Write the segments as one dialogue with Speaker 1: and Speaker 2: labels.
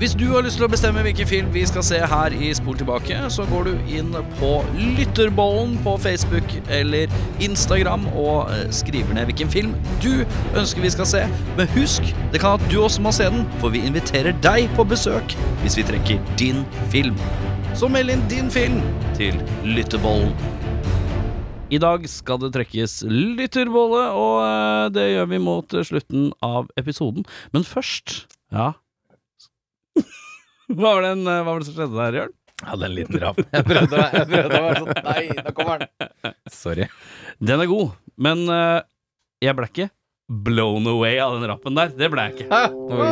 Speaker 1: Hvis du har lyst til å bestemme hvilken film vi skal se her i Spol tilbake, så går du inn på Lytterbollen på Facebook eller Instagram og eh, skriver ned hvilken film du ønsker vi skal se. Men husk, det kan at du også må se den, for vi inviterer deg på besøk hvis vi trekker din film. Så meld inn din film til Lytterbollen. I dag skal det trekkes lytterbolle, og eh, det gjør vi mot eh, slutten av episoden. Men først Ja. Hva var, den, eh, hva var det som skjedde der, Jørn?
Speaker 2: Hadde en liten rap. Jeg prøvde, å- jeg prøvde å være sånn Nei, nå kommer den! Sorry.
Speaker 1: Den er god, men eh, jeg ble ikke blown away av den rappen der. Det ble jeg ikke.
Speaker 2: Ah, oi.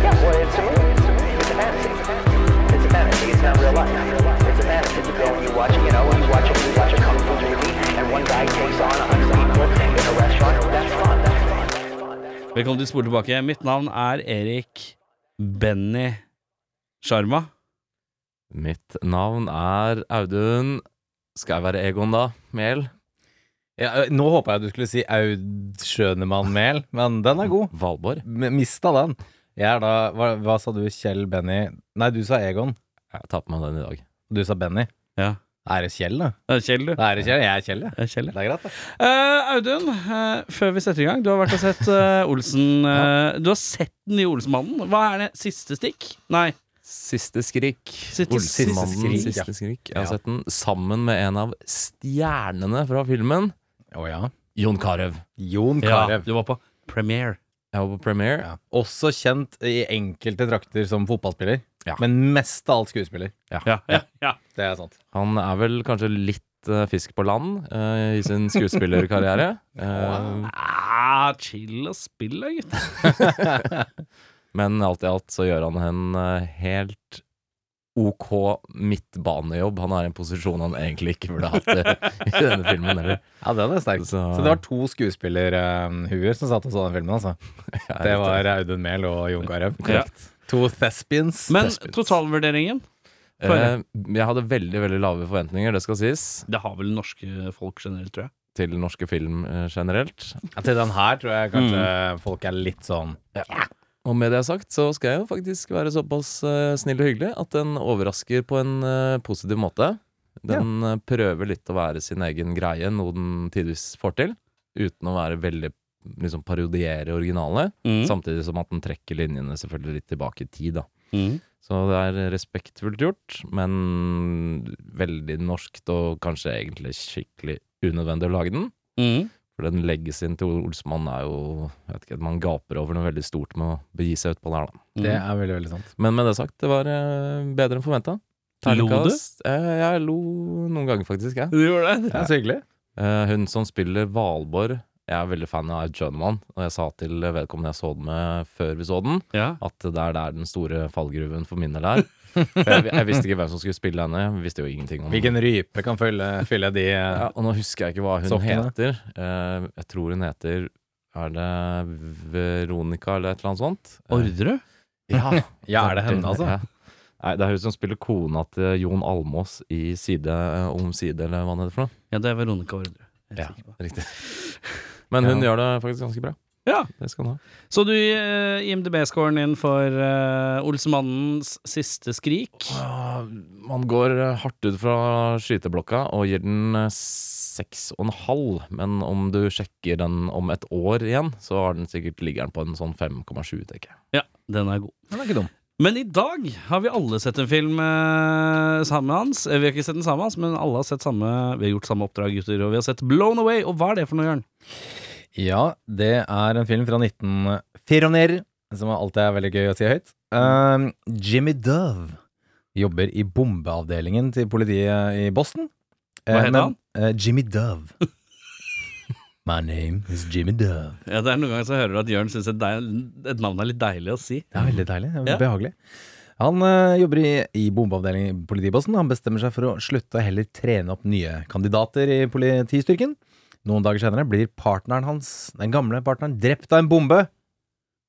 Speaker 3: Yeah, well, it's a movie. It's a movie. It's a fantasy. It's a fantasy. It's not real life. It's a fantasy. You go and you watch, you know, you watch a, you watch a kung fu movie, and one guy takes on a hundred people in a restaurant. That's fun. That's fun. That's fun. That's fun.
Speaker 1: Velkommen til Spol tilbake. Mitt navn er Erik Benny Sharma.
Speaker 4: Mitt navn er Audun. Skal jeg være Egon, da? Mel?
Speaker 2: Ja, nå håpa jeg du skulle si Aud Schønemann Mehl, men den er god.
Speaker 4: Valborg?
Speaker 2: M- Mista den. Jeg er da hva, hva sa du, Kjell Benny? Nei, du sa Egon.
Speaker 4: Jeg tar på meg den i dag.
Speaker 2: Du sa Benny.
Speaker 1: Ja.
Speaker 2: Er det Kjell, da?
Speaker 1: Eh, Kjell, du.
Speaker 2: Da er det Kjell. Jeg er Kjell, jeg.
Speaker 1: Eh, Kjell, ja.
Speaker 2: Det er greit, da.
Speaker 1: Eh, Audun, eh, før vi setter i gang, du har vært og sett eh, Olsen eh, Du har sett den nye Olsenmannen. Hva er det? Siste stikk? Nei.
Speaker 4: Siste skrik.
Speaker 1: Siste-
Speaker 4: Olsenmannen,
Speaker 2: siste skrik,
Speaker 4: siste
Speaker 2: ja.
Speaker 4: skrik. Jeg har
Speaker 2: Ja.
Speaker 4: sett den sammen med en av stjernene fra filmen.
Speaker 2: Å ja.
Speaker 4: Jon Carew.
Speaker 2: Jon
Speaker 1: Ja,
Speaker 2: Carew.
Speaker 1: du var på premiere.
Speaker 4: Jeg var på premiere.
Speaker 2: Ja. Også kjent i enkelte trakter som fotballspiller,
Speaker 4: Ja.
Speaker 2: men mest av alt skuespiller.
Speaker 1: Ja, ja, ja.
Speaker 2: Det er sant.
Speaker 4: Han er vel kanskje litt eh, fisk på land eh, i sin skuespillerkarriere. Eh,
Speaker 1: Ah, chill og spill, da, gutt.
Speaker 4: men alt i alt så gjør han en eh, helt OK midtbanejobb. Han har en posisjon han egentlig ikke burde hatt i, i denne filmen heller.
Speaker 2: Ja, den er sterk. Så,
Speaker 4: Så-
Speaker 2: det var to skuespillerhuer som satt og så den filmen, altså. Det var Audun Mehl og Jon Carew.
Speaker 1: Korrekt.
Speaker 2: To thespians.
Speaker 1: Men
Speaker 2: Thespians.
Speaker 1: totalvurderingen?
Speaker 4: Eh, jeg hadde veldig veldig lave forventninger, det skal sies,
Speaker 1: Det har vel norske folk generelt, tror jeg.
Speaker 4: til norske film eh, generelt.
Speaker 2: Ja, Til den her tror jeg kanskje folk er litt sånn
Speaker 4: Og med det jeg har sagt, så skal jeg jo faktisk være såpass eh, snill og hyggelig at den overrasker på en eh, positiv måte. Den eh, prøver litt å være sin egen greie, noe den tidvis får til, uten å være veldig liksom parodiere originalene. Samtidig som at den trekker linjene selvfølgelig litt tilbake i tid, da.
Speaker 1: Mm.
Speaker 4: Så det er respektfullt gjort, men veldig norskt og kanskje egentlig skikkelig unødvendig å lage den.
Speaker 1: Mm.
Speaker 4: For den legacyen til Olsmann er jo jeg vet ikke, Man gaper over noe veldig stort med å begi seg utpå der, da.
Speaker 2: Det er veldig, veldig sant.
Speaker 4: Men med det sagt, det var eh, bedre enn forventa.
Speaker 1: Lo du?
Speaker 4: Jeg lo noen ganger, faktisk. Jeg.
Speaker 1: Du gjorde det?
Speaker 2: Det er så hyggelig.
Speaker 4: Eh, hun som spiller Valborg Jeg er veldig fan av Jønman, og jeg sa til vedkommende jeg så den med før vi så den,
Speaker 1: Ja.
Speaker 4: at det er der den store fallgruven for min del er. For jeg, jeg visste ikke hvem som skulle spille henne. Jeg visste jo ingenting om
Speaker 2: Hvilken rype kan fylle, fylle de eh,
Speaker 4: Ja, og nå husker jeg ikke hva hun
Speaker 2: Sokkene.
Speaker 4: heter. Eh, jeg tror hun heter Er det Veronica eller et eller annet sånt? Eh,
Speaker 1: Ordre?
Speaker 4: ja,
Speaker 2: Ja, er det henne, altså?
Speaker 4: Ja. Nei, det er hun som spiller kona til Jon Almås i Side eh, om side, eller hva det heter for noe.
Speaker 1: Ja, det er Veronica Ordre. Jeg er
Speaker 4: Ja.
Speaker 1: sikker på det.
Speaker 4: Riktig. Men hun
Speaker 2: Ja.
Speaker 4: gjør det faktisk ganske bra.
Speaker 1: Ja.
Speaker 4: Det skal hun ha.
Speaker 1: Så du eh, IMDb-scoren din for eh, Olsemannens siste skrik?
Speaker 4: Ah, Man går eh, hardt ut fra skyteblokka og gir den eh, seks og en halv. Men om du sjekker den om et år igjen, så har den sikkert ligger den på en sånn 5,7, tenker jeg.
Speaker 1: Ja, den er god.
Speaker 2: Den er ikke dum.
Speaker 1: Men i dag har vi alle sett en film eh, sammen med hans. Eh, Vi har ikke sett den samme hans, men alle har sett samme Vi har gjort samme oppdrag, gutter, og vi har sett Blown Away. Og hva er det for noe, Jørn?
Speaker 2: Ja, det er en film fra 1994, som alltid er veldig gøy å si høyt. Um, Jimmy Dove jobber i bombeavdelingen til politiet i Boston. Eh,
Speaker 1: Hva heter han?
Speaker 2: Jimmy Dove. My name is Jimmy Dove.
Speaker 1: Ja, det er Noen ganger så hører du at Jørn syns et, deil- et navn er litt deilig å si.
Speaker 2: Det er veldig deilig. Det er
Speaker 1: Ja.
Speaker 2: Behagelig. Han eh, jobber i, i bombeavdelingen i politibossen. Han bestemmer seg for å slutte og heller trene opp nye kandidater i politistyrken. Noen dager senere blir partneren hans, den gamle partneren, drept av en bombe.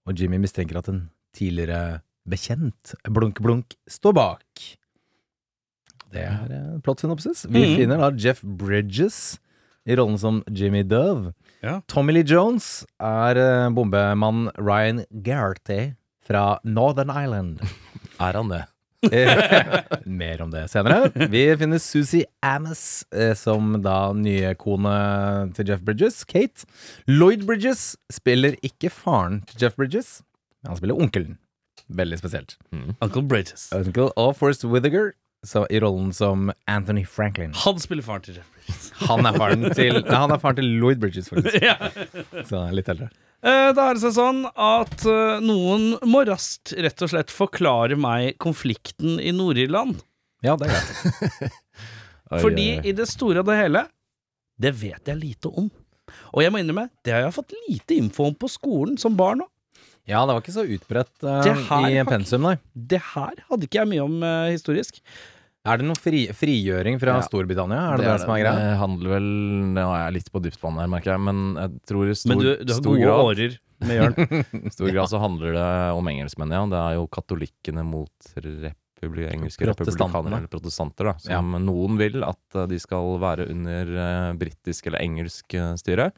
Speaker 2: Og Jimmy mistenker at en tidligere bekjent, blunk-blunk, står bak. Det er eh, plott synopsis. Vi
Speaker 1: Mhm.
Speaker 2: finner da Jeff Bridges i rollen som Jimmy Dove.
Speaker 1: Ja.
Speaker 2: Tommy Lee Jones er eh, bombemann Ryan Garty fra Northern Island.
Speaker 4: Er han det?
Speaker 2: Eh, Mer om det senere. Vi finner Susie Amis eh, som da nye kone til Jeff Bridges, Kate. Lloyd Bridges spiller ikke faren til Jeff Bridges, men han spiller onkelen. Veldig spesielt.
Speaker 5: Uncle Bridges.
Speaker 2: Uncle og Forrest Whittaker så- i rollen som Anthony Franklin.
Speaker 5: Han spiller faren til Jeff Bridges.
Speaker 2: Han er faren til, nei, han er faren til Lloyd Bridges, faktisk. Så han er litt eldre.
Speaker 5: Eh, Da er det seg sånn at eh, noen må raskt rett og slett forklare meg konflikten i Nord-Irland.
Speaker 2: Ja, det er greit.
Speaker 4: Oi,
Speaker 5: Fordi
Speaker 4: oi, oi.
Speaker 5: i det store og det hele, det vet jeg lite om. Og jeg må innrømme, det har jeg fått lite info om på skolen som barn òg.
Speaker 2: Ja, det var ikke så utbredt
Speaker 5: Det
Speaker 2: eh,
Speaker 5: her
Speaker 2: i
Speaker 5: har ikke-
Speaker 2: pensum, nei.
Speaker 5: Det her hadde ikke jeg mye om eh, historisk.
Speaker 2: Er det noe fri, frigjøring fra
Speaker 4: Ja.
Speaker 2: Storbritannia? Er det det, som er greia?
Speaker 4: Det Eh, handler vel Nå er jeg litt på dypt vann her, merker jeg, men jeg tror i stor,
Speaker 5: Men du, du har
Speaker 4: stor
Speaker 5: gode
Speaker 4: grad
Speaker 5: årer med Jørn.
Speaker 4: I stor grad så handler det om engelskmenn, ja. Det er jo katolikkene mot republi engelske
Speaker 2: Protestantene.
Speaker 4: republikanere, eller protestanter, da. Som noen vil at eh, de skal være under eh, britisk eller engelsk eh, styre,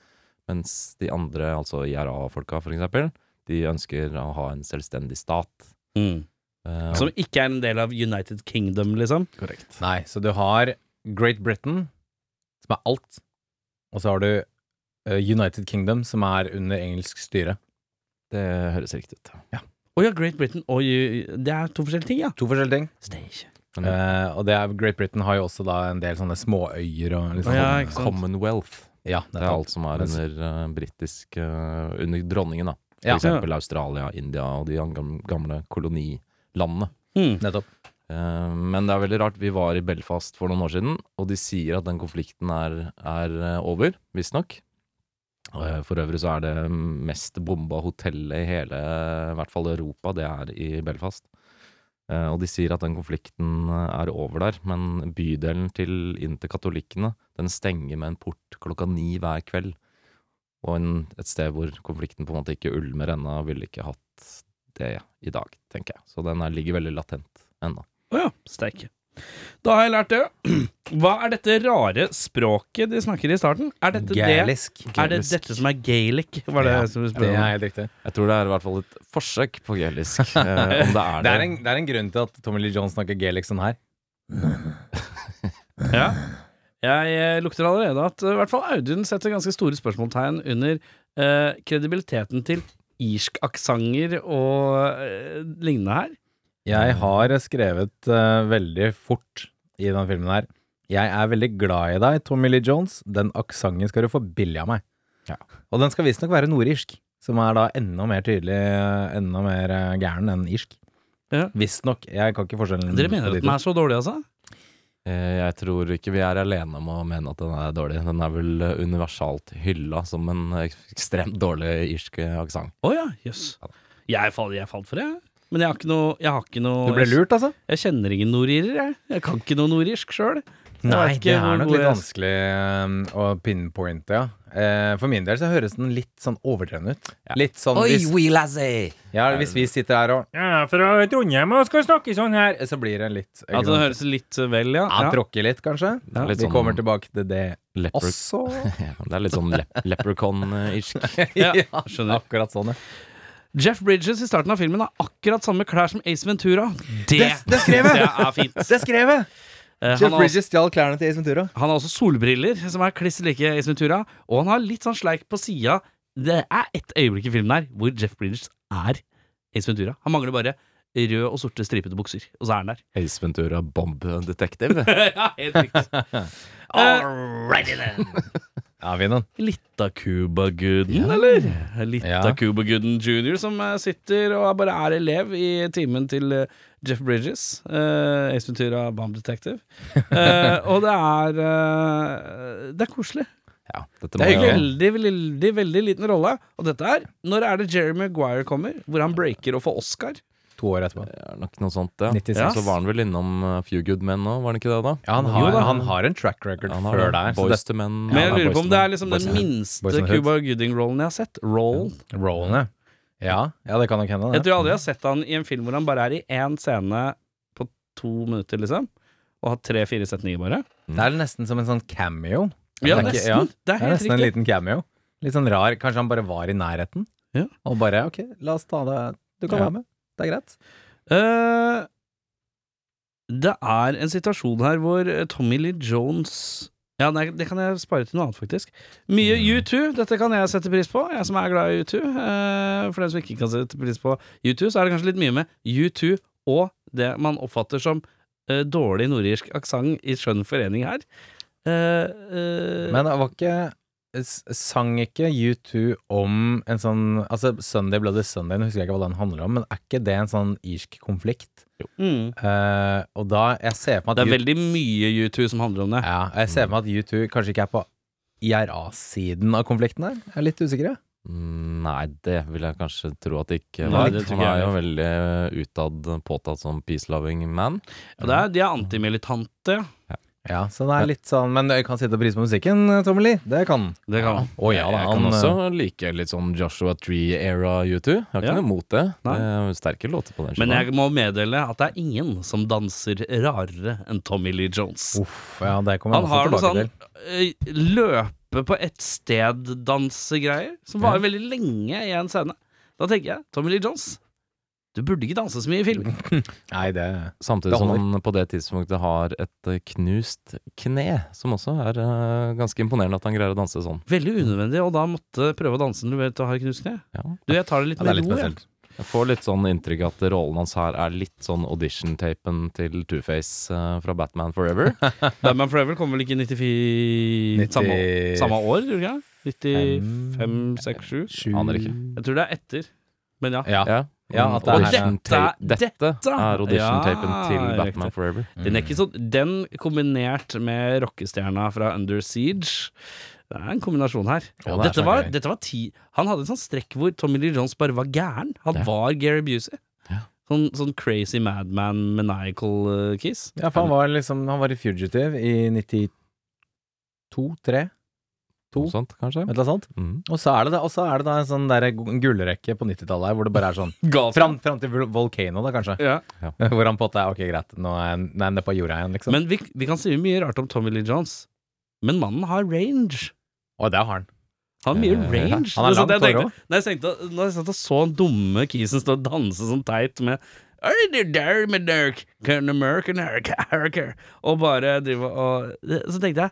Speaker 4: mens de andre, altså IRA-folka for eksempel, de ønsker å ha en selvstendig stat.
Speaker 5: Mm.
Speaker 4: Eh,
Speaker 5: Som ikke er en del av United Kingdom, liksom.
Speaker 2: Nei, så du har Great Britain, som er alt, og så har du eh, United Kingdom, som er under engelsk styre.
Speaker 4: det høres riktig ut.
Speaker 5: Å ja, Great Britain og U- Det er to forskjellige ting, ja.
Speaker 2: To forskjellige ting.
Speaker 5: Det er ikke
Speaker 4: Men
Speaker 2: Eh, og det er, Great Britain har jo også da en del sånne småøyer og liksom
Speaker 5: Ja, ikke sant.
Speaker 4: Commonwealth,
Speaker 2: Ja,
Speaker 4: det er
Speaker 2: nettopp.
Speaker 4: alt som er
Speaker 2: Mens-
Speaker 4: under uh, britisk eh, Under dronningen, da. For
Speaker 2: Ja.
Speaker 4: eksempel Australia, India og de gam- gamle kolonilandene.
Speaker 5: Hmm.
Speaker 2: Nettopp.
Speaker 4: Eh, Men det er veldig rart. Vi var i Belfast for noen år siden, og de sier at den konflikten er, er eh, over, visstnok. Eh, For øvrig så er det mest bomba hotellet i hele, i hvert fall Europa, det er i Belfast. Eh, Og de sier at den konflikten eh, er over der, men bydelen til inn til katolikkene, den stenger med en port klokka ni hver kveld. Og en, et sted hvor konflikten på en måte ikke ulmer ennå, ville ikke hatt det i dag, tenker jeg. Så den her ligger veldig latent ennå.
Speaker 5: Å ja, steike. Da har jeg lært det. Hva er dette rare språket de snakker i starten? Er dette det
Speaker 2: Gælisk.
Speaker 5: Er det dette som er gaelic? Var det
Speaker 2: Ja,
Speaker 5: som du
Speaker 2: Det
Speaker 5: spurte
Speaker 2: er
Speaker 5: om?
Speaker 2: helt riktig.
Speaker 4: Jeg tror det er i hvert fall et forsøk på gelisk. eh, om det er det.
Speaker 2: Det er, en, det er en grunn til at Tommy Lee Jones snakker gaelic sånn her.
Speaker 5: Ja. Jeg eh, lukter allerede at eh, i hvert fall Audun setter ganske store spørsmålstegn under eh, kredibiliteten til irsk-aksenter og eh, lignende her.
Speaker 2: Jeg har skrevet eh, veldig fort i denne filmen her. Jeg er veldig glad i deg, Tommy Lee Jones. Den aksenten skal du få billig av meg.
Speaker 4: Ja.
Speaker 2: Og den skal visstnok være nordirsk, som er da enda mer tydelig, eh, enda mer eh, gæren enn irsk.
Speaker 5: Ja.
Speaker 2: Visstnok. Jeg kan ikke forskjellen.
Speaker 5: Dere mener
Speaker 2: på de
Speaker 5: at den
Speaker 2: to.
Speaker 5: er så dårlig, altså?
Speaker 4: Eh, Jeg tror ikke vi er alene om å mene at den er dårlig. Den er vel eh, universalt hylla som en ek- ekstremt dårlig irsk eh, aksent.
Speaker 5: Å ja, jøss. Jeg, fall- jeg falt for det, jeg. Men jeg har ikke noe, jeg har ikke noe
Speaker 2: Du ble lurt, altså?
Speaker 5: Jeg kjenner ingen nordirer, jeg. Jeg kan ikke noe nordirsk sjøl.
Speaker 2: Nei, det er nok litt vanskelig eh, å pinpointe, ja. Eh, For min del så høres den litt sånn overdreven ut. Litt sånn hvis,
Speaker 4: oui, lasse!
Speaker 2: ja, hvis vi sitter her og
Speaker 6: Ja, fra Trondheim og skal snakke sånn her.
Speaker 2: eh, Så blir det litt
Speaker 5: At den høres litt vel, ja.
Speaker 2: Ja, tråkke litt, kanskje.
Speaker 4: er litt
Speaker 2: vi
Speaker 4: sånn-
Speaker 2: kommer tilbake til det
Speaker 4: Leper,
Speaker 2: også.
Speaker 4: ja, det er litt sånn lep leprechaun-irsk.
Speaker 5: Ja,
Speaker 2: skjønner.
Speaker 5: skjønner.
Speaker 2: Akkurat sånn, ja.
Speaker 5: Jeff Bridges i starten av filmen har akkurat samme klær som Ace Ventura. Det,
Speaker 2: det skrev jeg!
Speaker 5: det er ah, fint.
Speaker 2: Det skrev jeg!
Speaker 5: Eh, han,
Speaker 2: Jeff
Speaker 5: har også,
Speaker 2: Bridges stjal klærne til Ace Ventura.
Speaker 5: han har også solbriller, som er kliss like Ace Ventura. Og han har litt sånn sleik på sida. Det er ett øyeblikk i filmen her hvor Jeff Bridges er Ace Ventura. Han mangler bare røde og sorte stripete bukser, og så er han der.
Speaker 4: Ace Ventura Bomb Detective.
Speaker 5: ja, helt riktig. Eh,
Speaker 2: Ja, Vinnon.
Speaker 5: Litt av Cuba-guden, eller? Litt
Speaker 2: Ja.
Speaker 5: av Cuba-guden junior som eh, sitter og bare er elev i timen til eh, Jeff Bridges. eh, Ace Ventura Bomb Detective. Eh, og det er eh, Det er koselig.
Speaker 4: Ja, dette
Speaker 2: Det
Speaker 4: må
Speaker 5: Det
Speaker 2: er
Speaker 5: er
Speaker 4: jo
Speaker 5: veldig, veldig, veldig liten rolle. Og dette er Når er det Jerry Maguire kommer? Hvor han breaker og får Oscar?
Speaker 2: To år etterpå.
Speaker 4: det er nok noe sånt, ja.
Speaker 2: 96.
Speaker 4: Så var han vel innom eh, Few Good Men nå, var han ikke det, da?
Speaker 2: Ja, han
Speaker 5: Jo
Speaker 2: har,
Speaker 5: da.
Speaker 2: han har en track record
Speaker 4: Han
Speaker 2: før
Speaker 4: har
Speaker 2: der. Så
Speaker 4: Boys to Men.
Speaker 5: Men
Speaker 4: Ja,
Speaker 5: jeg lurer
Speaker 4: Boyz
Speaker 5: på om
Speaker 4: II
Speaker 5: det
Speaker 4: Men.
Speaker 5: er liksom
Speaker 4: Boyz
Speaker 5: den
Speaker 4: II Men.
Speaker 2: Boys
Speaker 5: minste
Speaker 2: and Hood.
Speaker 5: Cuba Gooding-rollen jeg har sett. Rollen.
Speaker 2: det rollen, ja. ja. Ja, det kan nok hende.
Speaker 5: Jeg
Speaker 2: Det.
Speaker 5: tror aldri jeg har sett han i en film hvor han bare er i én scene på to minutter, liksom. Og har tre-fire setninger, bare.
Speaker 2: det er nesten som en sånn cameo.
Speaker 5: Ja,
Speaker 2: Det er ikke-
Speaker 5: nesten.
Speaker 2: ja.
Speaker 5: Det er
Speaker 2: Det er
Speaker 5: helt
Speaker 2: nesten en
Speaker 5: riktig.
Speaker 2: liten cameo. Litt sånn rar. Kanskje han bare var i nærheten,
Speaker 5: Ja.
Speaker 2: og bare OK, la oss ta det Du kan
Speaker 4: Ja.
Speaker 2: være med. Det er greit.
Speaker 5: Eh, det er en situasjon her hvor eh, Tommy Lee Jones Ja, nei, det kan jeg spare til noe annet, faktisk. Mye U2. Dette kan jeg sette pris på, jeg som er glad i U2. Eh, for dem som ikke kan sette pris på U2, så er det kanskje litt mye med U2 og det man oppfatter som eh, dårlig nordirsk aksent i skjønn forening her. Eh, eh,
Speaker 2: Men det var ikke s- Sang ikke U2 om en sånn Altså, Sunday Bloody Sunday, nå husker jeg ikke hva den handler om, men er ikke det en sånn irsk konflikt?
Speaker 5: mm.
Speaker 2: Eh, og da Jeg ser for meg
Speaker 5: Det
Speaker 2: at
Speaker 5: er veldig mye U2 som handler om det.
Speaker 2: Ja, jeg ser for meg at U2 kanskje ikke er på IRA-siden av konflikten her. Jeg er litt usikker, jeg.
Speaker 4: Mm, Nei, det vil jeg kanskje tro at det ikke
Speaker 5: Nei,
Speaker 4: var.
Speaker 5: det tror
Speaker 4: Han
Speaker 5: ikke
Speaker 4: er
Speaker 5: jeg
Speaker 4: jo veldig eh, utad påtatt som peace-loving man.
Speaker 5: Og det er, de er antimilitante.
Speaker 2: Ja, så det er litt sånn Men jeg kan sitte og prise på musikken, Tommy Lee. Det kan han.
Speaker 5: Det kan man.
Speaker 2: Å ja, da, han
Speaker 4: jeg
Speaker 2: eh,
Speaker 4: kan også like litt sånn Joshua Tree-era U2. Jeg har
Speaker 5: Ja.
Speaker 4: ikke noe imot det.
Speaker 5: Nei.
Speaker 4: det er sterke låter på den
Speaker 5: Men
Speaker 4: skiva.
Speaker 5: jeg må meddele at det er ingen som danser rarere enn Tommy Lee Jones.
Speaker 2: Uff, ja, det kommer
Speaker 5: Han
Speaker 2: jeg
Speaker 5: har
Speaker 2: også
Speaker 5: noe
Speaker 2: tilbake
Speaker 5: sånn
Speaker 2: til.
Speaker 5: eh, løpe på ett sted-dansegreier som varer veldig lenge i en scene. Da tenker jeg Tommy Lee Jones, du burde ikke danse så mye i film.
Speaker 2: Nei, det
Speaker 4: Samtidig
Speaker 2: Det
Speaker 4: som
Speaker 2: holder.
Speaker 4: han på det tidspunktet har et eh, knust kne, som også er eh, ganske imponerende at han greier å danse sånn.
Speaker 5: Veldig unødvendig, og da måtte prøve å danse når du vet du har knust kne.
Speaker 4: Ja.
Speaker 5: Du, jeg tar det litt
Speaker 2: ja, det er
Speaker 5: med ro.
Speaker 2: litt
Speaker 5: jeg.
Speaker 2: spesielt.
Speaker 4: Jeg får litt sånn inntrykk at rollen hans her er litt sånn audition-tapen til Two-Face eh, fra Batman Forever.
Speaker 5: Batman Forever kom vel ikke i 94 samme, samme år, tror jeg? 95, 6, 7?
Speaker 4: Aner ikke.
Speaker 5: Jeg tror det er etter, men ja.
Speaker 2: Ja.
Speaker 4: Ja.
Speaker 2: Ja, at det er-
Speaker 4: Audition-ta-
Speaker 5: Dette-
Speaker 4: dette er audition-tapen
Speaker 5: Ja,
Speaker 4: til
Speaker 5: riktig.
Speaker 4: Batman Forever.
Speaker 5: Den er ikke sånn Den kombinert med rockestjerna fra Under Siege Det er en kombinasjon her.
Speaker 2: Ja, det er
Speaker 5: dette,
Speaker 2: så
Speaker 5: var,
Speaker 2: gøy.
Speaker 5: dette var ti Han hadde en sånn strekk hvor Tommy Lee Jones bare var gæren. Han
Speaker 4: Ja.
Speaker 5: var Gary Busey.
Speaker 4: Ja.
Speaker 5: Sånn, sånn crazy madman maniacal eh, kiss.
Speaker 2: Ja, for han var liksom Han var i Fugitive i 92-3, To.
Speaker 4: Noe sånt, kanskje.
Speaker 2: et eller annet sånt.
Speaker 4: Mm.
Speaker 2: Og så er det da, og så er det da en sånn der gullrekke på 90-tallet her hvor det bare er sånn Fram, fram til Vol- Volcano, da, kanskje.
Speaker 5: Ja.
Speaker 2: Hvor han på en måte er ok, greit, nå er jeg nå er jeg nede på jorda igjen, liksom.
Speaker 5: Men vi, vi kan si mye rart om Tommy Lee Jones, men mannen har range.
Speaker 2: og det har han.
Speaker 5: Han har mye
Speaker 4: Eh,
Speaker 5: range. Det er
Speaker 2: han er
Speaker 5: sånn jeg
Speaker 2: langt hår
Speaker 5: tenkte- Når jeg, tenkte, når jeg satt og så han dumme kisen stå og danse sånn teit med «Are you there, my Dirk? Can American Eric- Eric?» Og bare drive og Så tenkte jeg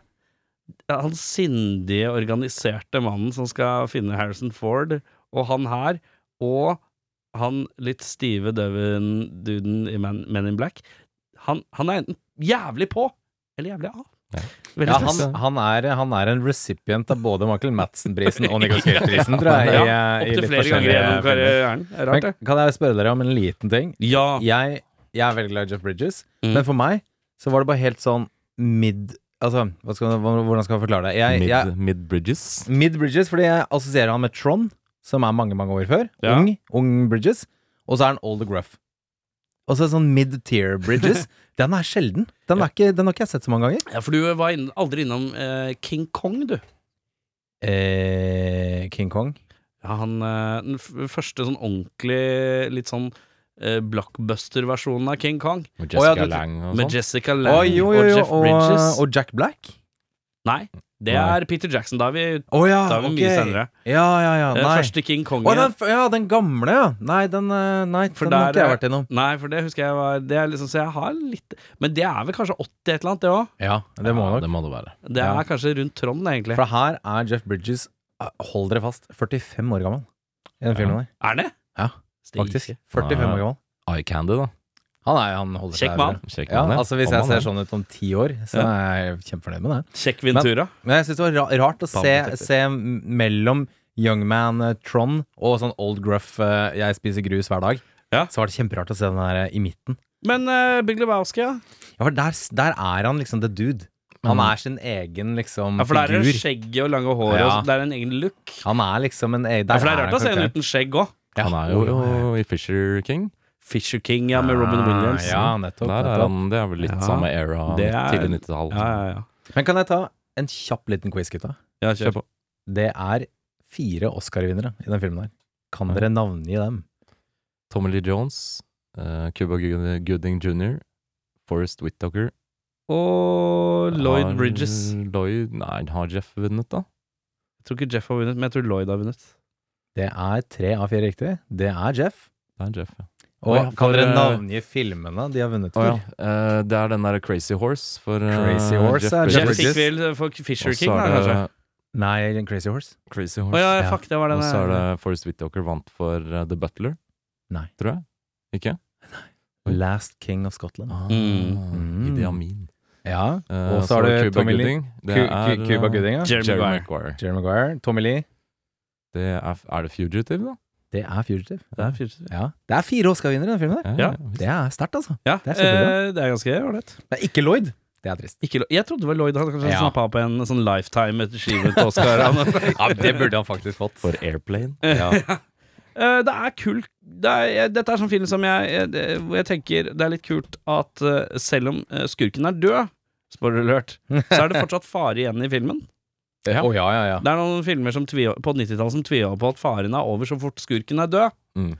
Speaker 5: ja, Han sindige, organiserte mannen som skal finne Harrison Ford, og han her, og han litt stive døven duden i Men, Men in Black han, han er enten jævlig på eller jævlig av.
Speaker 4: Ja.
Speaker 5: Veldig
Speaker 2: Ja,
Speaker 5: spes.
Speaker 2: han, han, er, han er en recipient av både Michael Madsen-prisen og Nicholas Gate-prisen, tror jeg. i, eh, i
Speaker 5: Opptil
Speaker 2: litt
Speaker 5: flere ganger
Speaker 2: forskjellige
Speaker 5: gjennom
Speaker 2: filmer.
Speaker 5: karrieren. Det er Rart, det.
Speaker 2: Men kan jeg spørre dere om en liten ting?
Speaker 5: Ja.
Speaker 2: Jeg, jeg er veldig glad i Jeff Bridges,
Speaker 5: Mm.
Speaker 2: men for meg så var det bare helt sånn mid Altså, hva skal, hvordan skal jeg forklare det? Jeg, jeg,
Speaker 4: Mid, mid Bridges.
Speaker 2: mid Bridges, fordi jeg assosierer han med Tron, som er mange, mange år før.
Speaker 5: Ja.
Speaker 2: Ung, ung Bridges. Og så er han old og gruff. Og så sånn mid-tier Bridges. den er sjelden. Den, er ikke, den har ikke jeg sett så mange ganger.
Speaker 5: Ja, for du var inn, aldri innom eh, King Kong, du.
Speaker 2: Eh, King Kong.
Speaker 5: Ja, han, eh, den f første sånn ordentlig, litt sånn eh, blockbuster-versjonen av King Kong.
Speaker 4: Med
Speaker 2: Å, ja,
Speaker 4: Jessica
Speaker 2: du-
Speaker 4: Lang og
Speaker 5: Med
Speaker 4: sånn.
Speaker 5: Jessica
Speaker 2: Å,
Speaker 5: Lange
Speaker 2: jo, jo,
Speaker 5: og
Speaker 2: jo,
Speaker 5: Jeff
Speaker 2: og,
Speaker 5: Bridges.
Speaker 2: og Jack Black.
Speaker 5: Nei, det
Speaker 4: Nei.
Speaker 5: er Peter Jackson. Da er vi,
Speaker 2: Å ja,
Speaker 5: da er vi
Speaker 2: Ah, ok.
Speaker 5: mye senere.
Speaker 2: Ja, ja, ja.
Speaker 5: Eh,
Speaker 2: Nei.
Speaker 5: første King Kong.
Speaker 2: Å, den, f- ja, den gamle, ja. Nei, den, eh, nei,
Speaker 5: For
Speaker 2: den
Speaker 5: der
Speaker 2: har ikke jeg
Speaker 5: er-
Speaker 2: vært innom.
Speaker 5: Nei, for det husker jeg var det er liksom, Så jeg har litt Men det er vel kanskje 80 et eller annet, det òg?
Speaker 2: Ja, det må
Speaker 4: Ja,
Speaker 2: nok.
Speaker 4: det må det være.
Speaker 5: Det er
Speaker 2: Ja.
Speaker 5: kanskje rundt Trond, egentlig.
Speaker 2: For her er Jeff Bridges, eh, hold dere fast, 45 år gammel i den filmen der.
Speaker 5: Er det?
Speaker 2: Ja,
Speaker 5: Stig.
Speaker 2: Faktisk. 45 år gammel.
Speaker 4: Eye Candy, da.
Speaker 2: Han er han holder
Speaker 5: Kjekk
Speaker 2: seg
Speaker 5: mann.
Speaker 2: bra.
Speaker 4: Sjekk
Speaker 2: Ja,
Speaker 4: den,
Speaker 2: altså Hvis
Speaker 4: Kom
Speaker 2: jeg
Speaker 4: an,
Speaker 2: ser
Speaker 4: da.
Speaker 2: sånn ut om ti år, så er jeg kjempefornøyd med det.
Speaker 5: Sjekk Ventura.
Speaker 2: Men jeg syns det var ra- rart å se,
Speaker 4: Bambutekter.
Speaker 2: se mellom Young Man eh, Tron og sånn Old Gruff eh, Jeg spiser grus hver dag.
Speaker 5: Ja.
Speaker 2: Så var det kjemperart å se den der eh, i midten.
Speaker 5: Men eh, Big Lebowski, ja.
Speaker 2: Ja, for der, s- der er han liksom the dude. Han er sin egen liksom
Speaker 5: ja for der er det
Speaker 2: figur.
Speaker 5: skjegget og lange håret.
Speaker 2: Ja.
Speaker 5: og så- Det er en egen look.
Speaker 2: Han er liksom en e- der
Speaker 5: Ja, for det er rart å se
Speaker 2: karakter.
Speaker 5: en uten skjegg òg.
Speaker 4: Han er jo, jo i Fisher King.
Speaker 5: Fisher King ja, med Robin Williams.
Speaker 2: Ah, Ja, nettopp.
Speaker 4: Der er
Speaker 2: nettopp.
Speaker 4: han, det er vel litt
Speaker 5: Ja.
Speaker 4: samme era.
Speaker 5: Det er-
Speaker 4: Tidlig 90-tall.
Speaker 5: Ja, ja, ja.
Speaker 2: Men kan jeg ta en kjapp liten quiz, gutta?
Speaker 5: ja kjør. på.
Speaker 2: Det er fire Oscar-vinnere i den filmen her. Kan dere navngi dem?
Speaker 4: Tommy Lee Jones, eh, Cuba Good- Gooding jr., Forrest Whittaker
Speaker 5: Og Lloyd
Speaker 4: Har
Speaker 5: Bridges.
Speaker 4: mm. Lloyd, nei, har Jeff vunnet, da?
Speaker 5: Jeg tror ikke Jeff har vunnet, men jeg tror Lloyd har vunnet.
Speaker 2: Det er tre av fire riktig. Det er Jeff.
Speaker 4: Det er Jeff, ja.
Speaker 2: Og
Speaker 4: Å ja,
Speaker 2: kan
Speaker 4: for,
Speaker 2: dere
Speaker 4: eh,
Speaker 2: navngi filmene de har vunnet for?
Speaker 4: Eh, det er den der Crazy Horse for eh,
Speaker 2: Crazy Horse
Speaker 4: Jeff
Speaker 2: er
Speaker 4: Bridges.
Speaker 5: Jeff
Speaker 2: Bridges.
Speaker 5: fikk vel for
Speaker 4: Og
Speaker 5: Fisher
Speaker 4: så
Speaker 5: King, da,
Speaker 4: er det
Speaker 5: kanskje.
Speaker 2: Nei, Crazy Horse.
Speaker 4: Crazy
Speaker 5: Å
Speaker 4: Horse.
Speaker 5: ja,
Speaker 2: ja.
Speaker 5: fuck, det var
Speaker 4: Og
Speaker 5: den
Speaker 4: så er det Forest Whitaker vant for eh, The Butler.
Speaker 2: Nei.
Speaker 4: Tror jeg. Ikke?
Speaker 2: Last King of Scotland.
Speaker 4: Mm. Idi Amin.
Speaker 2: Ja.
Speaker 4: Eh,
Speaker 2: Og så er det
Speaker 4: Cuba
Speaker 2: Tommy Lee.
Speaker 4: Gooding. Det
Speaker 2: Cu-
Speaker 4: er,
Speaker 2: Cu- Cuba
Speaker 4: eh,
Speaker 2: Gooding, ja.
Speaker 5: Jerry
Speaker 4: Jerry
Speaker 5: Maguire.
Speaker 4: Maguire.
Speaker 2: Jerry Maguire. Tommy Lee.
Speaker 4: Det er, er det Fugitive, da?
Speaker 2: Det er Fugitive.
Speaker 5: Det er fint.
Speaker 2: Ja. Det er fire Oscar-vinnere i den filmen. der
Speaker 5: Ja.
Speaker 2: Det er sterkt, altså.
Speaker 5: Ja,
Speaker 2: Det er
Speaker 5: eh,
Speaker 2: kjempebra.
Speaker 5: det er ganske ålreit.
Speaker 2: Det er ikke Lloyd. Det er trist.
Speaker 5: Ikke lo- Jeg trodde vel Lloyd hadde kanskje
Speaker 2: Ja.
Speaker 5: snappa opp en sånn lifetime etter skive til Oscar. Han-
Speaker 2: Ja, Det burde han faktisk fått.
Speaker 4: For Airplane.
Speaker 5: Eh, det er kult det er, jeg, Dette er sånn film som jeg, jeg, det- hvor jeg tenker det er litt kult at eh, selv om eh, skurken er død, spoiler alert, så er det fortsatt fare igjen i filmen.
Speaker 2: Å ja, ja, ja.
Speaker 5: Det er noen filmer som tvi, på 90-tallet som tviholder på at faren er over så fort skurken er død.
Speaker 4: Mm.